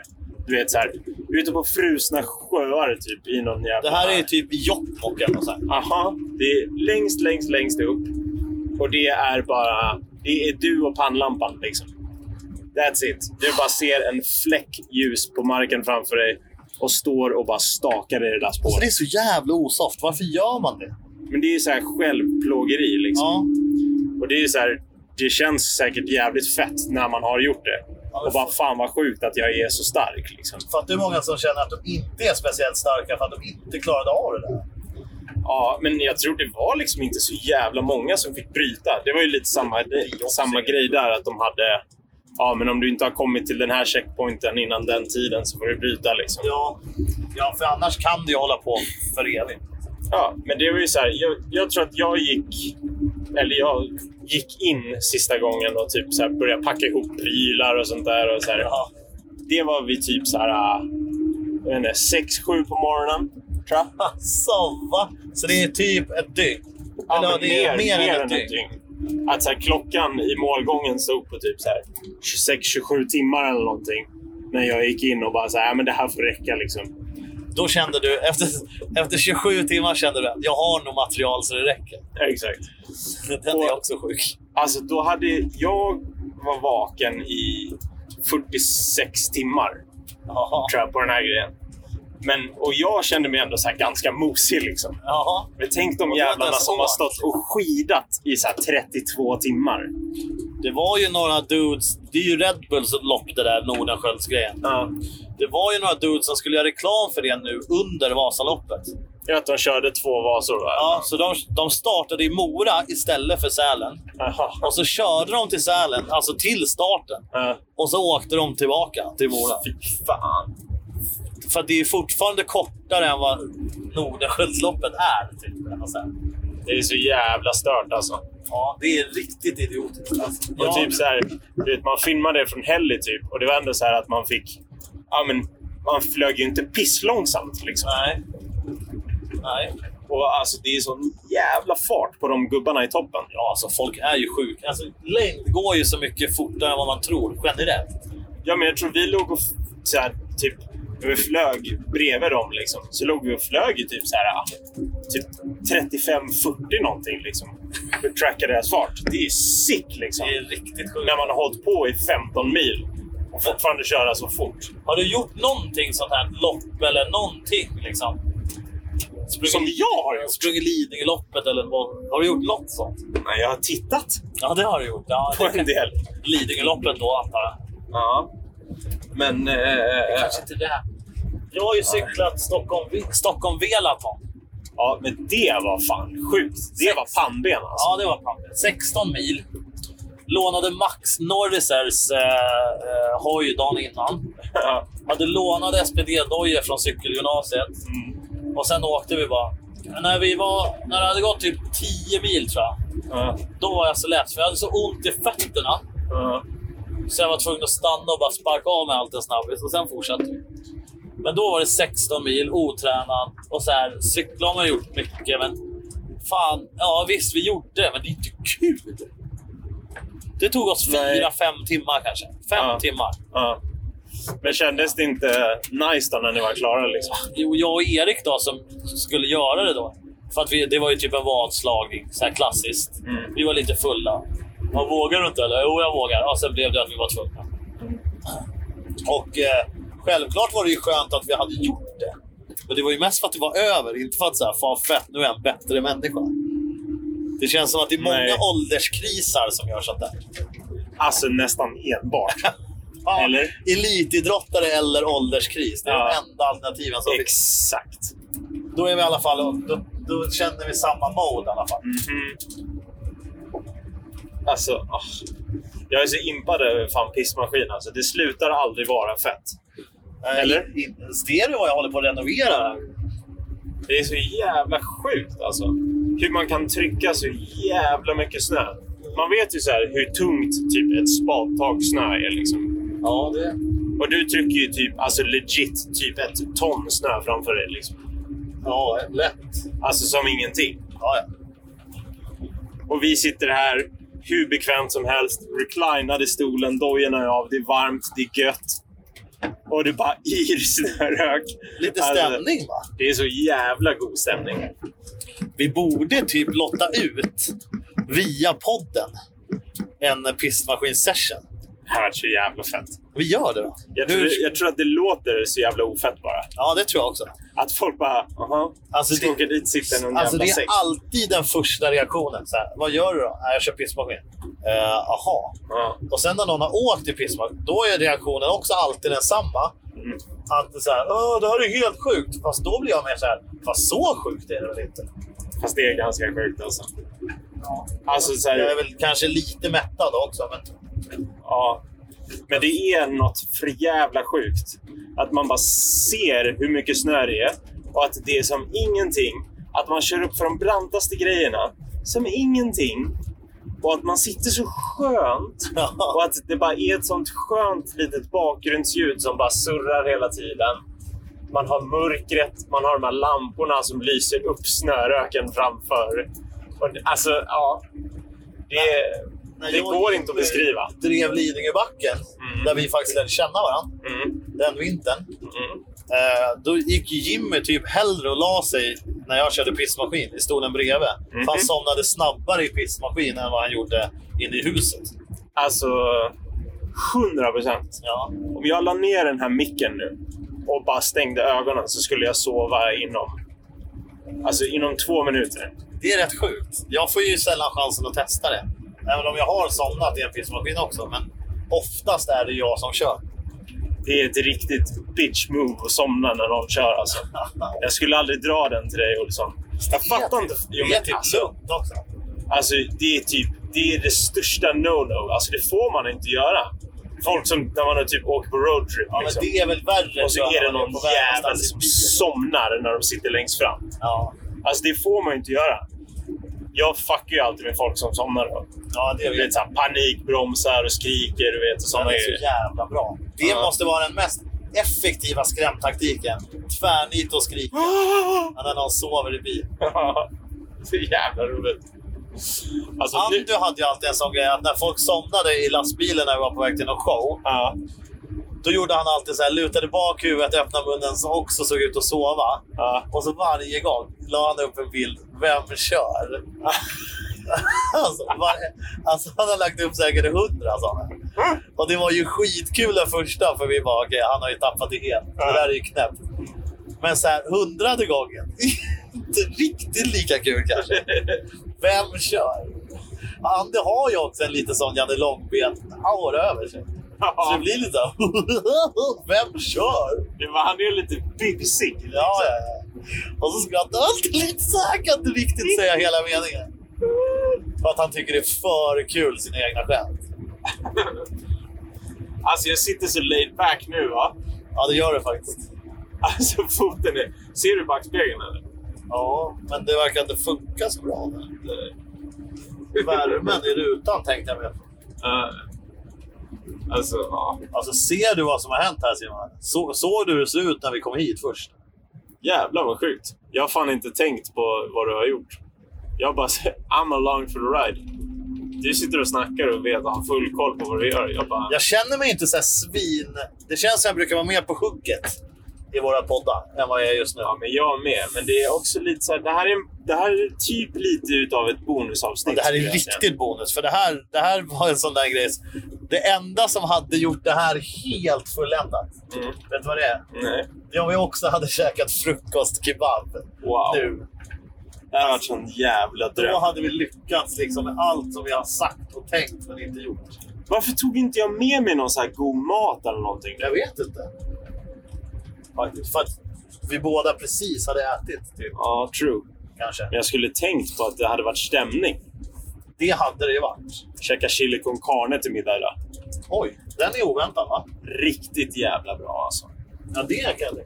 [SPEAKER 3] Du vet så här, ute på frusna sjöar typ i någon jävla...
[SPEAKER 1] Det här är ju typ Jokkmokk eller nåt sånt. här.
[SPEAKER 3] Aha, det är längst, längst, längst upp. Och det är bara... Det är du och pannlampan liksom. That's it. Du bara ser en fläck ljus på marken framför dig och står och bara stakar i det där
[SPEAKER 1] Alltså, det är
[SPEAKER 3] spåret.
[SPEAKER 1] så jävla osoft. Varför gör man det?
[SPEAKER 3] Men det är ju så här självplågeri liksom.
[SPEAKER 1] Ja.
[SPEAKER 3] Och det är ju så här, det känns säkert jävligt fett när man har gjort det.
[SPEAKER 1] det
[SPEAKER 3] Och bara fan vad sjukt att jag är så stark. Liksom.
[SPEAKER 1] För att det är många som känner att de inte är speciellt starka för att de inte klarade av det där.
[SPEAKER 3] Ja, men jag tror det var liksom inte så jävla många som fick bryta. Det var ju lite samma,
[SPEAKER 1] är
[SPEAKER 3] samma
[SPEAKER 1] också-
[SPEAKER 3] grej där att de hade Ja, men om du inte har kommit till den här checkpointen innan den tiden så får du bryta. Liksom.
[SPEAKER 1] Ja, ja för annars kan det ju hålla på för evigt.
[SPEAKER 3] Ja, men det var ju så här, jag, jag tror att jag gick eller jag gick in sista gången och typ så här började packa ihop prylar och sånt där. Och så här,
[SPEAKER 1] Ja.
[SPEAKER 3] Det var vi typ så här, äh, jag vet inte, sex, sju på morgonen. Tror jag.
[SPEAKER 1] Alltså, va? Så det är typ ett dygn?
[SPEAKER 3] Ja,
[SPEAKER 1] Eller,
[SPEAKER 3] men mer, mer, än ett dygn. Att så här, klockan i målgången stod på typ så här 26-27 timmar eller någonting. När jag gick in och bara så här, "Ja, men det här får räcka liksom.
[SPEAKER 1] Då kände du, efter, efter 27 timmar kände du att jag har nog material så det räcker.
[SPEAKER 3] Ja, Exakt.
[SPEAKER 1] Den är också sjuk.
[SPEAKER 3] Alltså då hade jag var vaken i 46 timmar.
[SPEAKER 1] Jaha.
[SPEAKER 3] tror jag, på den här grejen. Men, och jag kände mig ändå så här ganska mosig. Liksom.
[SPEAKER 1] Jaha.
[SPEAKER 3] Men tänk de
[SPEAKER 1] Och då är det
[SPEAKER 3] jävlarna
[SPEAKER 1] så
[SPEAKER 3] som har
[SPEAKER 1] varmt.
[SPEAKER 3] stått och skidat i så här 32 timmar.
[SPEAKER 1] Det var ju några dudes, det är ju Red Bulls lopp det där Nordenskiölds-grejen.
[SPEAKER 3] Ja.
[SPEAKER 1] Det var ju några dudes som skulle göra reklam för det nu under Vasaloppet.
[SPEAKER 3] Jag att de körde två vasor. Va?
[SPEAKER 1] Ja, så de, de startade i Mora istället för Sälen.
[SPEAKER 3] Aha.
[SPEAKER 1] Och så körde de till Sälen, alltså till starten.
[SPEAKER 3] Ja.
[SPEAKER 1] Och så åkte de tillbaka till Mora.
[SPEAKER 3] Fy fan.
[SPEAKER 1] För att det är fortfarande kortare än vad Nordenskiöldsloppet är. Typ, eller något så här.
[SPEAKER 3] Det är så jävla stört alltså.
[SPEAKER 1] ja, det är riktigt idiotiskt. Alltså.
[SPEAKER 3] Och
[SPEAKER 1] Ja,
[SPEAKER 3] typ så här, du vet, man filmade det från Helly typ. Och det var ändå så här att man fick... Ja, men, man flög ju inte pisslångsamt liksom.
[SPEAKER 1] Nej. Nej.
[SPEAKER 3] Och alltså, det är sån jävla fart på de gubbarna i toppen.
[SPEAKER 1] Ja, alltså folk är ju sjuka. Alltså, längd går ju så mycket fortare än vad man tror generellt.
[SPEAKER 3] Ja, men jag tror vi låg och f- så här, typ, vi flög bredvid dem. Liksom. Så låg vi och flög i typ, så här, ah, typ 35-40 någonting. Liksom. Och trackade deras fart. Det är sick liksom.
[SPEAKER 1] Det är riktigt sjukt.
[SPEAKER 3] När man har hållit på i 15 mil och fortfarande köra så fort.
[SPEAKER 1] Har du gjort någonting sånt här lopp eller någonting liksom? Sprungit-
[SPEAKER 3] Som jag har gjort.
[SPEAKER 1] Sprungit Lidingöloppet eller vad? Har du gjort något sånt?
[SPEAKER 3] Nej, jag har tittat
[SPEAKER 1] Ja, det har du gjort. Ja,
[SPEAKER 3] på
[SPEAKER 1] det-
[SPEAKER 3] en del.
[SPEAKER 1] Lidingöloppet då, antar jag.
[SPEAKER 3] Ja. Men... eh, eh,
[SPEAKER 1] Kanske inte det. här. Jag har ju cyklat Stockholm, Stockholm Velaton.
[SPEAKER 3] ja, men det var fan sjukt. Det var pannben alltså.
[SPEAKER 1] Ja, det var pampigt. 16 mil. Lånade Max Norrisers eh, eh, hoj dagen innan.
[SPEAKER 3] Ja.
[SPEAKER 1] Hade lånade SPD-dojor från cykelgymnasiet.
[SPEAKER 3] Mm.
[SPEAKER 1] Och sen åkte vi bara. När, vi var, när det hade gått typ 10 mil tror jag,
[SPEAKER 3] Ja.
[SPEAKER 1] då var jag så lätt. För jag hade så ont i fötterna
[SPEAKER 3] Ja.
[SPEAKER 1] så jag var tvungen att stanna och bara sparka av med allt en snabbis. Och sen fortsatte vi. Men då var det 16 mil, otränad. Och så här, cykla har man gjort mycket, men fan. Ja visst, vi gjorde det, men det är inte kul. Det tog oss
[SPEAKER 3] Nej.
[SPEAKER 1] fyra, fem timmar kanske. Fem
[SPEAKER 3] Ja.
[SPEAKER 1] timmar.
[SPEAKER 3] Ja. Men kändes det inte nice då när ni var klara? Liksom?
[SPEAKER 1] Jo, jag och Erik då som skulle göra det då. För att vi, det var ju typ en vadslagning, så här klassiskt.
[SPEAKER 3] Mm.
[SPEAKER 1] Vi var lite fulla. Man vågar du inte eller? Jo, jag vågar. Och sen blev det att vi var tvungna. Och eh, självklart var det ju skönt att vi hade gjort det. Men det var ju mest för att det var över, inte för att så här, fan fett, nu är jag en bättre människa. Det känns som att det är många
[SPEAKER 3] Nej.
[SPEAKER 1] ålderskrisar som gör sånt där.
[SPEAKER 3] Alltså nästan enbart.
[SPEAKER 1] Ja,
[SPEAKER 3] Eller?
[SPEAKER 1] Elitidrottare eller ålderskris. Det är
[SPEAKER 3] Ja.
[SPEAKER 1] de enda alternativen som finns.
[SPEAKER 3] Exakt.
[SPEAKER 1] Då är vi i alla fall, då, då känner vi samma mode i alla fall.
[SPEAKER 3] Mhm. Alltså, ah. jag är så impad över fan pissmaskin. Alltså, det slutar aldrig vara fett.
[SPEAKER 1] Eh,
[SPEAKER 3] Eller?
[SPEAKER 1] i- Stereo jag håller på att renovera här.
[SPEAKER 3] Det är så jävla sjukt alltså. Hur man kan trycka så jävla mycket snö. Man vet ju så här hur tungt typ ett spadtag snö är. Liksom.
[SPEAKER 1] Ja, det...
[SPEAKER 3] Och du trycker ju typ, alltså legit typ ett ton snö framför dig. Liksom.
[SPEAKER 1] Ja, lätt.
[SPEAKER 3] Alltså som ingenting.
[SPEAKER 1] Ja, ja.
[SPEAKER 3] Och vi sitter här hur bekvämt som helst. Reclinade i stolen, dojorna är av, det är varmt, det är gött. Och det bara yr snörök.
[SPEAKER 1] Lite
[SPEAKER 3] Alltså,
[SPEAKER 1] stämning va?
[SPEAKER 3] Det är så jävla god stämning.
[SPEAKER 1] Vi borde typ lotta ut via podden en pistmaskin-session.
[SPEAKER 3] Det här var så jävla fett.
[SPEAKER 1] Vi gör det då.
[SPEAKER 3] Jag
[SPEAKER 1] Hur-
[SPEAKER 3] tror, jag tror att det låter så jävla ofett bara.
[SPEAKER 1] Ja, det tror jag också.
[SPEAKER 3] Att folk bara, jaha,
[SPEAKER 1] Alltså,
[SPEAKER 3] ska
[SPEAKER 1] det-
[SPEAKER 3] åka dit sitta i någon
[SPEAKER 1] Alltså, det
[SPEAKER 3] jävla
[SPEAKER 1] är
[SPEAKER 3] säck.
[SPEAKER 1] alltid den första reaktionen. Så här, Vad gör du då? "Nej, Jag kör pissmaskin. Eh, aha.
[SPEAKER 3] Ja.
[SPEAKER 1] Och sen när någon har åkt i pissmaskin, då är reaktionen också alltid densamma.
[SPEAKER 3] Mm.
[SPEAKER 1] Att det är så här, Åh, det här är helt sjukt. Fast då blir jag mer så här, fast så sjukt är det väl inte?
[SPEAKER 3] Fast det är ganska sjukt alltså. Alltså så
[SPEAKER 1] Jag är
[SPEAKER 3] här,
[SPEAKER 1] väl kanske lite mättad också. Men...
[SPEAKER 3] ja. Men det är något för jävla sjukt. Att man bara ser hur mycket snö det är och att det är som ingenting. Att man kör upp för de brantaste grejerna som ingenting. Och att man sitter så skönt. Och att det bara är ett sånt skönt litet bakgrundsljud som bara surrar hela tiden. Man har mörkret, man har de här lamporna som lyser upp snöröken framför. Och, det- alltså, ja. Det,
[SPEAKER 1] När
[SPEAKER 3] det
[SPEAKER 1] jag
[SPEAKER 3] går inte att beskriva.
[SPEAKER 1] drev Lidingöbacken,
[SPEAKER 3] Mm.
[SPEAKER 1] där vi faktiskt lärde känna varandra
[SPEAKER 3] Mm,
[SPEAKER 1] den vintern.
[SPEAKER 3] mm.
[SPEAKER 1] Eh, då gick ju Jimmy typ hellre och la sig när jag körde pissmaskin i stolen bredvid. För han
[SPEAKER 3] Mhm.
[SPEAKER 1] somnade snabbare i pissmaskin än vad han gjorde inne i huset.
[SPEAKER 3] Alltså, 100 procent.
[SPEAKER 1] Ja.
[SPEAKER 3] Om jag la ner den här micken nu och bara stängde ögonen så skulle jag sova inom, alltså inom två minuter.
[SPEAKER 1] Det är rätt sjukt. Jag får ju sällan chansen att testa det. Även om jag har somnat i en pissmaskin också. Men oftast är det jag som kör.
[SPEAKER 3] Det är ett riktigt bitch move att somna när någon kör alltså. Jag skulle aldrig dra den till dig Olsson. Jag fattar inte. Jo,
[SPEAKER 1] Det är
[SPEAKER 3] men
[SPEAKER 1] typ
[SPEAKER 3] alltså,
[SPEAKER 1] lugnt också.
[SPEAKER 3] alltså, det är typ det, är det största no-no. Alltså, det får man inte göra. Folk som när man har typ åker på roadtrip.
[SPEAKER 1] Ja, men
[SPEAKER 3] liksom.
[SPEAKER 1] det är väl värre
[SPEAKER 3] Och så
[SPEAKER 1] tror jag,
[SPEAKER 3] är det
[SPEAKER 1] när man
[SPEAKER 3] någon
[SPEAKER 1] på väg
[SPEAKER 3] jävel
[SPEAKER 1] någonstans i
[SPEAKER 3] som
[SPEAKER 1] bilen.
[SPEAKER 3] somnar när de sitter längst fram.
[SPEAKER 1] Ja.
[SPEAKER 3] Alltså det får man ju inte göra. Jag fuckar ju alltid med folk som somnar då.
[SPEAKER 1] ja, det
[SPEAKER 3] Du
[SPEAKER 1] är
[SPEAKER 3] vet, så här, panikbromsar och skriker du vet, och
[SPEAKER 1] Den
[SPEAKER 3] sådana
[SPEAKER 1] är så
[SPEAKER 3] grejer.
[SPEAKER 1] jävla bra. Det
[SPEAKER 3] Ja.
[SPEAKER 1] måste vara den mest effektiva skrämtaktiken. Tvärnit och skrika när någon sover i bil.
[SPEAKER 3] så jävla roligt. Alltså, nu...
[SPEAKER 1] Andu hade ju alltid en sån grej att när folk somnade i lastbilen när vi var på väg till någon show,
[SPEAKER 3] Ja,
[SPEAKER 1] då gjorde han alltid så här, lutade bak huvudet, öppnade munnen som också såg ut att sova.
[SPEAKER 3] ja.
[SPEAKER 1] Och så varje gång la han upp en bild. Vem kör? alltså, var, alltså han har lagt upp säkert hundra sådana. Och det var ju skitkul den första för vi bara okej, han har ju tappat det helt. Det där är ju knäppt. Men så här hundrade gången. Inte riktigt lika kul kanske. Vem kör? Ande har ju också en liten sån Janne Långben-aura över sig. Så det blir lite så här, Vem kör?
[SPEAKER 3] Det var, han är ju lite bibsig. liksom.
[SPEAKER 1] Ja, ja, ja. Och så skrattar han alltid lite så här. Kan inte riktigt säga hela meningen. För att han tycker det är för kul, sina egna skämt.
[SPEAKER 3] Alltså jag sitter så laid back nu va.
[SPEAKER 1] Ja, det gör det faktiskt.
[SPEAKER 3] Alltså foten är... Ser du backspegeln eller?
[SPEAKER 1] Ja, men det verkar inte funka så bra. men det- Värmen i rutan tänkte jag med.
[SPEAKER 3] Eh, alltså, ja.
[SPEAKER 1] Alltså, ser du vad som har hänt här Simon? Så, såg du hur det ser ut när vi kom hit först?
[SPEAKER 3] Jävlar vad sjukt. Jag har fan inte tänkt på vad du har gjort. Jag bara, säger, I'm along for the ride. Du sitter och snackar och vet har full koll på vad du gör. Jag bara,
[SPEAKER 1] Jag känner mig inte så här svin... Det känns som jag brukar vara mer på hugget i våra poddar än vad jag är just nu.
[SPEAKER 3] ja men jag med. Men det är också lite så här, det här är, det här är typ lite utav ett bonusavsnitt.
[SPEAKER 1] Det här
[SPEAKER 3] skulle
[SPEAKER 1] är
[SPEAKER 3] jag säga.
[SPEAKER 1] riktigt bonus, för det här, det här var en sån där grej. Det enda som hade gjort det här helt fulländat,
[SPEAKER 3] Mm.
[SPEAKER 1] vet du vad det är?
[SPEAKER 3] Nej.
[SPEAKER 1] Det är om vi också hade käkat frukostkebab
[SPEAKER 3] Wow.
[SPEAKER 1] nu.
[SPEAKER 3] Det här har varit sån jävla
[SPEAKER 1] Då
[SPEAKER 3] dröm.
[SPEAKER 1] hade vi lyckats liksom med allt som vi har sagt och tänkt men inte gjort.
[SPEAKER 3] Varför tog inte jag med mig någon så här god mat eller någonting?
[SPEAKER 1] Jag vet inte. Faktiskt. För att vi båda precis hade ätit, typ,
[SPEAKER 3] Ja, true.
[SPEAKER 1] kanske.
[SPEAKER 3] Men jag skulle tänkt på att det hade varit stämning.
[SPEAKER 1] Det hade det ju varit.
[SPEAKER 3] Käka chili con carne till middag idag.
[SPEAKER 1] Oj, den är oväntad va?
[SPEAKER 3] Riktigt jävla bra alltså.
[SPEAKER 1] Ja, det kan det.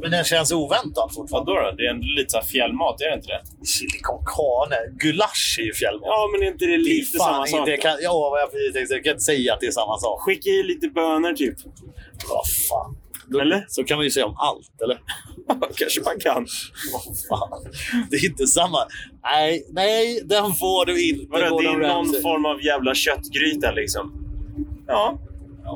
[SPEAKER 1] Men den känns oväntad fortfarande.
[SPEAKER 3] Vadå då? Det är ändå lite så här fjällmat, är det inte det?
[SPEAKER 1] Chili con carne. Gulasch är ju fjällmat.
[SPEAKER 3] Ja, men är inte det
[SPEAKER 1] Det är
[SPEAKER 3] lite
[SPEAKER 1] fan
[SPEAKER 3] samma sak?
[SPEAKER 1] inte- jag Kan, ja, vad jag precis tänkte säga. Jag kan inte säga att det är samma sak.
[SPEAKER 3] Skicka i lite bönor typ.
[SPEAKER 1] Vad fan. Då,
[SPEAKER 3] Eller?
[SPEAKER 1] Så kan man ju säga om allt, eller?
[SPEAKER 3] Kanske man kan.
[SPEAKER 1] Vad fan. Det är inte samma. Nej, nej den får du inte.
[SPEAKER 3] Vadå, det är
[SPEAKER 1] Gordon
[SPEAKER 3] någon
[SPEAKER 1] Ramsay.
[SPEAKER 3] form av jävla köttgryta liksom. Ja.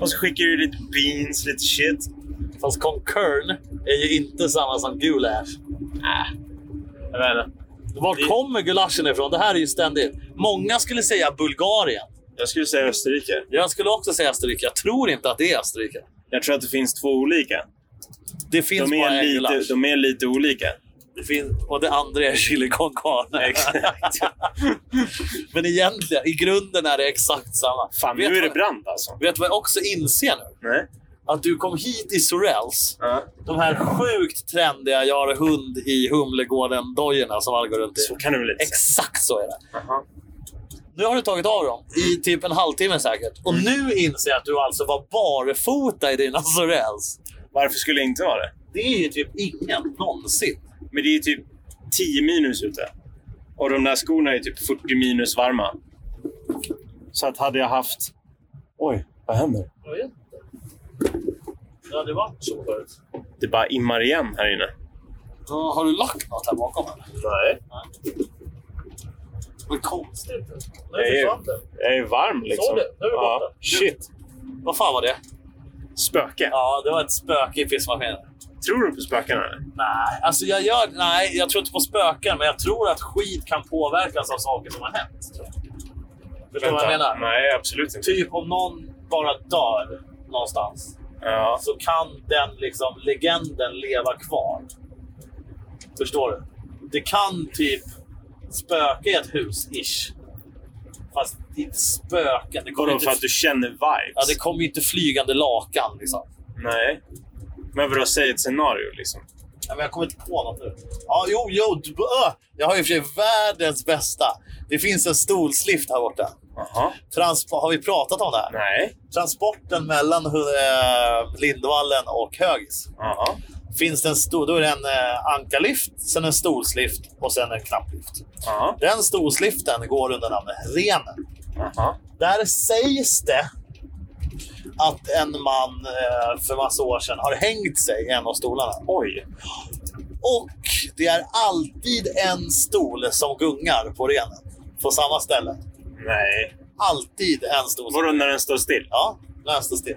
[SPEAKER 3] Och så skickar du lite beans, lite shit.
[SPEAKER 1] Fast Concurn är ju inte samma som gulasch. Äh.
[SPEAKER 3] Jag vet inte.
[SPEAKER 1] Var
[SPEAKER 3] Det-
[SPEAKER 1] kommer gulaschen ifrån? Det här är ju ständigt. Många skulle säga Bulgarien.
[SPEAKER 3] Jag skulle säga Österrike.
[SPEAKER 1] Jag skulle också säga Österrike. Jag tror inte att det är Österrike.
[SPEAKER 3] Jag tror att det finns två olika.
[SPEAKER 1] Det finns
[SPEAKER 3] De
[SPEAKER 1] bara
[SPEAKER 3] är,
[SPEAKER 1] en gulasch.
[SPEAKER 3] lite, de är lite olika.
[SPEAKER 1] Det finns, och det andra är chili con carne.
[SPEAKER 3] Exakt.
[SPEAKER 1] Men egentligen, i grunden är det exakt samma.
[SPEAKER 3] Fan, nu
[SPEAKER 1] vet
[SPEAKER 3] är det
[SPEAKER 1] vad-
[SPEAKER 3] brant alltså.
[SPEAKER 1] Vet du vad jag också inser nu?
[SPEAKER 3] Nej.
[SPEAKER 1] Att du kom hit i Sorells.
[SPEAKER 3] Ja.
[SPEAKER 1] De här sjukt trendiga jag har hund i Humlegården-dojorna som alla går runt
[SPEAKER 3] Så
[SPEAKER 1] i.
[SPEAKER 3] kan du väl inte säga?
[SPEAKER 1] Exakt så är det.
[SPEAKER 3] Aha.
[SPEAKER 1] Nu har du tagit av dem i typ en halvtimme säkert.
[SPEAKER 3] Mm.
[SPEAKER 1] Och nu inser jag att du alltså var barfota i dina Sorells.
[SPEAKER 3] Varför skulle jag inte vara det?
[SPEAKER 1] Det är ju typ ingen någonsin.
[SPEAKER 3] Men det är typ 10 minus ute. Och de där skorna är typ 40 minus varma. Så att hade jag haft... Oj, vad händer?
[SPEAKER 1] Jag vet inte. Ja, det var så förut.
[SPEAKER 3] Det bara immar igen här inne.
[SPEAKER 1] Ja, Har du lagt något här bakom? eller?
[SPEAKER 3] Nej.
[SPEAKER 1] Vad konstigt.
[SPEAKER 3] Jag är, jag är varm liksom.
[SPEAKER 1] Såg du? Nu är det
[SPEAKER 3] ja.
[SPEAKER 1] borta.
[SPEAKER 3] Shit.
[SPEAKER 1] Vad fan var det?
[SPEAKER 3] Spöke.
[SPEAKER 1] Ja, det var ett spöke i pissmaskinen.
[SPEAKER 3] Tror du på spöken? eller?
[SPEAKER 1] Nej, alltså jag, gör, nej, jag tror inte på spöken, men jag tror att skit kan påverkas av saker som har hänt. tror jag. Förstår du vad jag
[SPEAKER 3] Vänta.
[SPEAKER 1] menar?
[SPEAKER 3] Nej, absolut inte.
[SPEAKER 1] Typ om någon bara dör någonstans
[SPEAKER 3] Ja.
[SPEAKER 1] så kan den liksom, legenden leva kvar. Förstår du? Det kan typ spöka i ett hus, ish. Fast det är inte spöken. Det kommer
[SPEAKER 3] Vadå,
[SPEAKER 1] inte,
[SPEAKER 3] för att du känner vibes?
[SPEAKER 1] ja, det kommer ju inte flygande lakan. Liksom.
[SPEAKER 3] Nej. Men vadå, säg ett scenario liksom.
[SPEAKER 1] Ja, men jag kommer inte på något nu. Ja, jo, jo. du- ö, Jag har i och för sig världens bästa. Det finns en stolslift här borta.
[SPEAKER 3] Jaha.
[SPEAKER 1] Transpo- har vi pratat om det här?
[SPEAKER 3] Nej.
[SPEAKER 1] Transporten mellan eh, Lindvallen och Högis.
[SPEAKER 3] Jaha.
[SPEAKER 1] Finns det en stor, då är det en eh, ankarlift, sen en stolslift och sen en knapplift.
[SPEAKER 3] Jaha.
[SPEAKER 1] Den stolsliften går under namnet Renen.
[SPEAKER 3] Jaha.
[SPEAKER 1] Där sägs det att en man eh, för massa år sedan har hängt sig i en av stolarna.
[SPEAKER 3] Oj.
[SPEAKER 1] Och det är alltid en stol som gungar på renen. På samma ställe.
[SPEAKER 3] Nej.
[SPEAKER 1] Alltid en stol. Som...
[SPEAKER 3] Vadå när den står still?
[SPEAKER 1] Ja, den står still.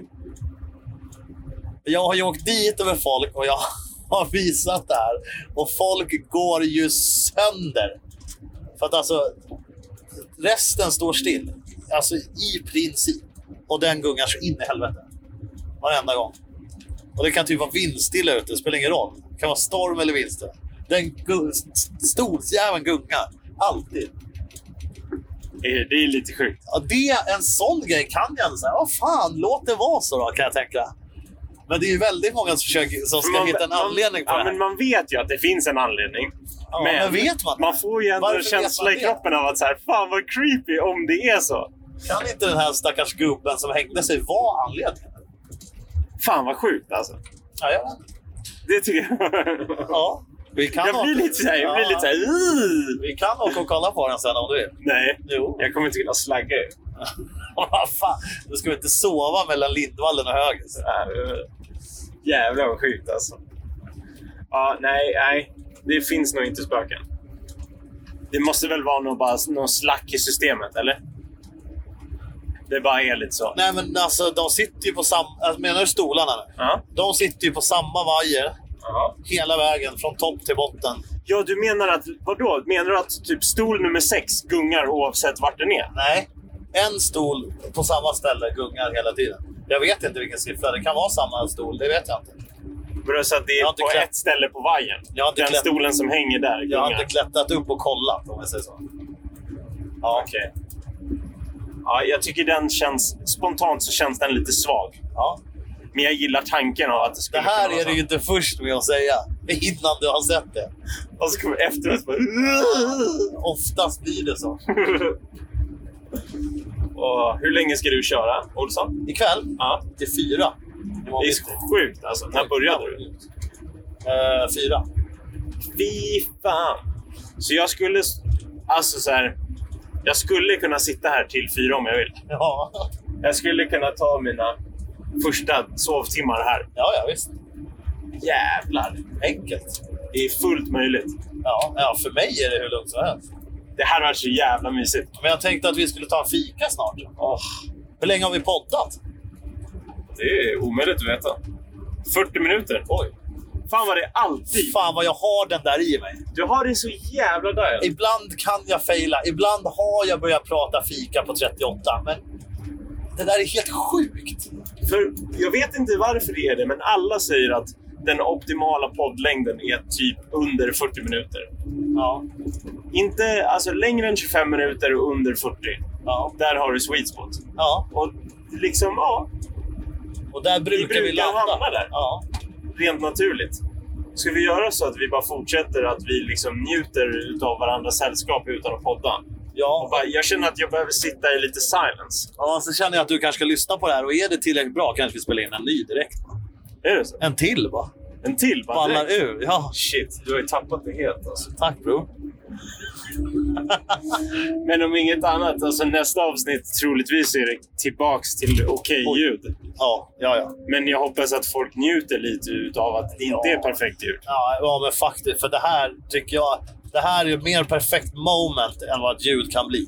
[SPEAKER 1] Jag har ju åkt dit över folk och jag har visat det här. Och folk går ju sönder. För att alltså, resten står still. Alltså i princip. Och den gungar så in i helvete. Varenda gång. Och det kan typ vara vindstilla ute, det spelar ingen roll. Det kan vara storm eller vindstilla. Den gu- stolsjäveln gungar. Alltid.
[SPEAKER 3] Eh, Det är lite sjukt.
[SPEAKER 1] Ja, det, en sån grej kan jag ändå säga. Vad fan, låt det vara så då, kan jag tänka. Men det är ju väldigt många som, försöker, som ska hitta en anledning på
[SPEAKER 3] ja,
[SPEAKER 1] det här.
[SPEAKER 3] men Man vet ju att det finns en anledning.
[SPEAKER 1] Ja, men vet man det?
[SPEAKER 3] Man får ju ändå
[SPEAKER 1] Varför
[SPEAKER 3] en
[SPEAKER 1] vet
[SPEAKER 3] känsla
[SPEAKER 1] man
[SPEAKER 3] i
[SPEAKER 1] det?
[SPEAKER 3] kroppen av att så här, fan vad creepy om det är så.
[SPEAKER 1] Kan inte den här stackars gubben som hängde sig vara anledningen?
[SPEAKER 3] Fan vad sjukt alltså.
[SPEAKER 1] Ja, jag vet inte.
[SPEAKER 3] Det tycker jag.
[SPEAKER 1] ja, vi kan
[SPEAKER 3] Jag blir
[SPEAKER 1] åka-
[SPEAKER 3] lite såhär, jag blir
[SPEAKER 1] Ja,
[SPEAKER 3] lite såhär... "Ih."
[SPEAKER 1] Vi kan åka och kolla på den sen om du vill.
[SPEAKER 3] Nej,
[SPEAKER 1] Jo.
[SPEAKER 3] jag kommer inte kunna slagga er.
[SPEAKER 1] Vad fan, du ska väl inte sova mellan Lindvallen och Höger?
[SPEAKER 3] Äh, Jävlar vad sjukt alltså. Ja, nej, nej. Det finns nog inte spöken. Det måste väl vara någon, bara, någon slack i systemet, eller? Det bara är lite så.
[SPEAKER 1] Nej, men alltså de sitter ju på samma... Alltså, menar du stolarna nu?
[SPEAKER 3] Ja.
[SPEAKER 1] De sitter ju på samma vajer hela vägen från topp till botten.
[SPEAKER 3] ja, du menar att... Vadå? Menar du att typ stol nummer sex gungar oavsett vart den är?
[SPEAKER 1] Nej, en stol på samma ställe gungar hela tiden. Jag vet inte vilken siffra. Det kan vara samma stol, det vet jag inte.
[SPEAKER 3] Vadå, så att det är
[SPEAKER 1] Jag har
[SPEAKER 3] på
[SPEAKER 1] inte klätt-
[SPEAKER 3] ett ställe på vajern?
[SPEAKER 1] Jag har inte
[SPEAKER 3] Den
[SPEAKER 1] klätt-
[SPEAKER 3] stolen som hänger där
[SPEAKER 1] Jag har
[SPEAKER 3] gungar?
[SPEAKER 1] inte klättrat upp och kollat om jag säger så. Ja,
[SPEAKER 3] Okej. Ja, jag tycker den känns... Spontant så känns den lite svag.
[SPEAKER 1] ja.
[SPEAKER 3] Men jag gillar tanken av att det
[SPEAKER 1] Det
[SPEAKER 3] skulle kunna
[SPEAKER 1] här
[SPEAKER 3] vara
[SPEAKER 1] är du ju inte först med att säga innan du har sett det.
[SPEAKER 3] Och så kommer efteråt bara...
[SPEAKER 1] Oftast blir det så.
[SPEAKER 3] och hur länge ska du köra, Olsson?
[SPEAKER 1] Ikväll
[SPEAKER 3] Ja.
[SPEAKER 1] till fyra.
[SPEAKER 3] Det är så sjukt alltså. När började du?
[SPEAKER 1] Eh, fyra.
[SPEAKER 3] Fy fan! Så jag skulle... Alltså så här... Jag skulle kunna sitta här till fyra om jag vill.
[SPEAKER 1] Ja,
[SPEAKER 3] Jag skulle kunna ta mina första sovtimmar här.
[SPEAKER 1] ja, ja visst.
[SPEAKER 3] Jävlar!
[SPEAKER 1] Enkelt.
[SPEAKER 3] Det är fullt möjligt.
[SPEAKER 1] Ja, ja, för mig är det hur lugnt som helst.
[SPEAKER 3] Det här var så jävla mysigt.
[SPEAKER 1] Men jag tänkte att vi skulle ta en fika snart.
[SPEAKER 3] Åh,
[SPEAKER 1] Hur länge har vi poddat?
[SPEAKER 3] Det är omöjligt att veta. 40 minuter?
[SPEAKER 1] Oj.
[SPEAKER 3] Fan vad det är alltid.
[SPEAKER 1] Fan vad jag har den där i mig.
[SPEAKER 3] Du har det så jävla där.
[SPEAKER 1] Ibland kan jag fejla. Ibland har jag börjat prata fika på 38. Men det där är helt sjukt.
[SPEAKER 3] För jag vet inte varför det är det, men alla säger att den optimala poddlängden är typ under 40 minuter.
[SPEAKER 1] Ja.
[SPEAKER 3] Inte alltså längre än 25 minuter och under 40.
[SPEAKER 1] Ja.
[SPEAKER 3] Där har du sweet spot.
[SPEAKER 1] ja.
[SPEAKER 3] Och liksom, ja,
[SPEAKER 1] Och där brukar vi,
[SPEAKER 3] brukar
[SPEAKER 1] landa.
[SPEAKER 3] hamna där.
[SPEAKER 1] Ja.
[SPEAKER 3] rent naturligt. Ska vi göra så att vi bara fortsätter att vi liksom njuter av varandras sällskap utan att podda? Och
[SPEAKER 1] Ja.
[SPEAKER 3] bara, jag känner att jag behöver sitta i lite silence.
[SPEAKER 1] ja, så känner jag att du kanske ska lyssna på det här och är det tillräckligt bra kanske vi spelar in en ny direkt.
[SPEAKER 3] Är det så?
[SPEAKER 1] En till va?
[SPEAKER 3] En till bara
[SPEAKER 1] Ballar
[SPEAKER 3] direkt.
[SPEAKER 1] ur. Ja,
[SPEAKER 3] Shit, du har ju tappat det helt alltså.
[SPEAKER 1] tack bror.
[SPEAKER 3] Men om inget annat, alltså nästa avsnitt troligtvis är det tillbaks till okej
[SPEAKER 1] Oj.
[SPEAKER 3] ljud.
[SPEAKER 1] Ja, ja, ja.
[SPEAKER 3] Men jag hoppas att folk njuter lite av att det inte
[SPEAKER 1] Ja.
[SPEAKER 3] är perfekt ljud.
[SPEAKER 1] Ja, ja men faktiskt. För det här tycker jag, det här är ju mer perfekt moment än vad ett ljud kan bli.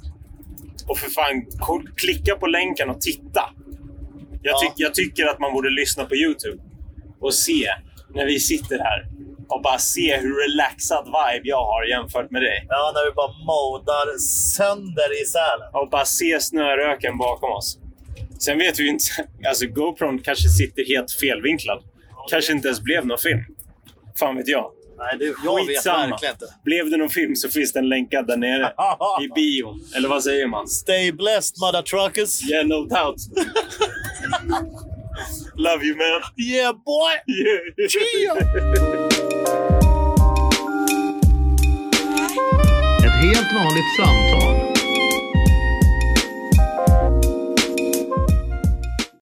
[SPEAKER 3] Och för fan, ko- klicka på länken och titta. Jag,
[SPEAKER 1] Ja.
[SPEAKER 3] tyck, jag tycker att man borde lyssna på YouTube och se när vi sitter här och bara se hur relaxad vibe jag har jämfört med dig.
[SPEAKER 1] Ja, när vi bara modar sönder i sälen.
[SPEAKER 3] Och bara se snöröken bakom oss. Sen vet vi ju inte. Alltså GoPron kanske sitter helt felvinklad. Kanske inte ens blev någon film. Fan vet jag.
[SPEAKER 1] Nej, det, jag vet
[SPEAKER 3] Skitsamma.
[SPEAKER 1] verkligen inte.
[SPEAKER 3] Blev det någon film så finns den länkad där nere. I bion. Eller vad säger man?
[SPEAKER 1] Stay blessed, mother truckers.
[SPEAKER 3] Yeah, no doubt. Love you man.
[SPEAKER 1] Yeah, boy!
[SPEAKER 3] Yeah.
[SPEAKER 2] Ett helt vanligt samtal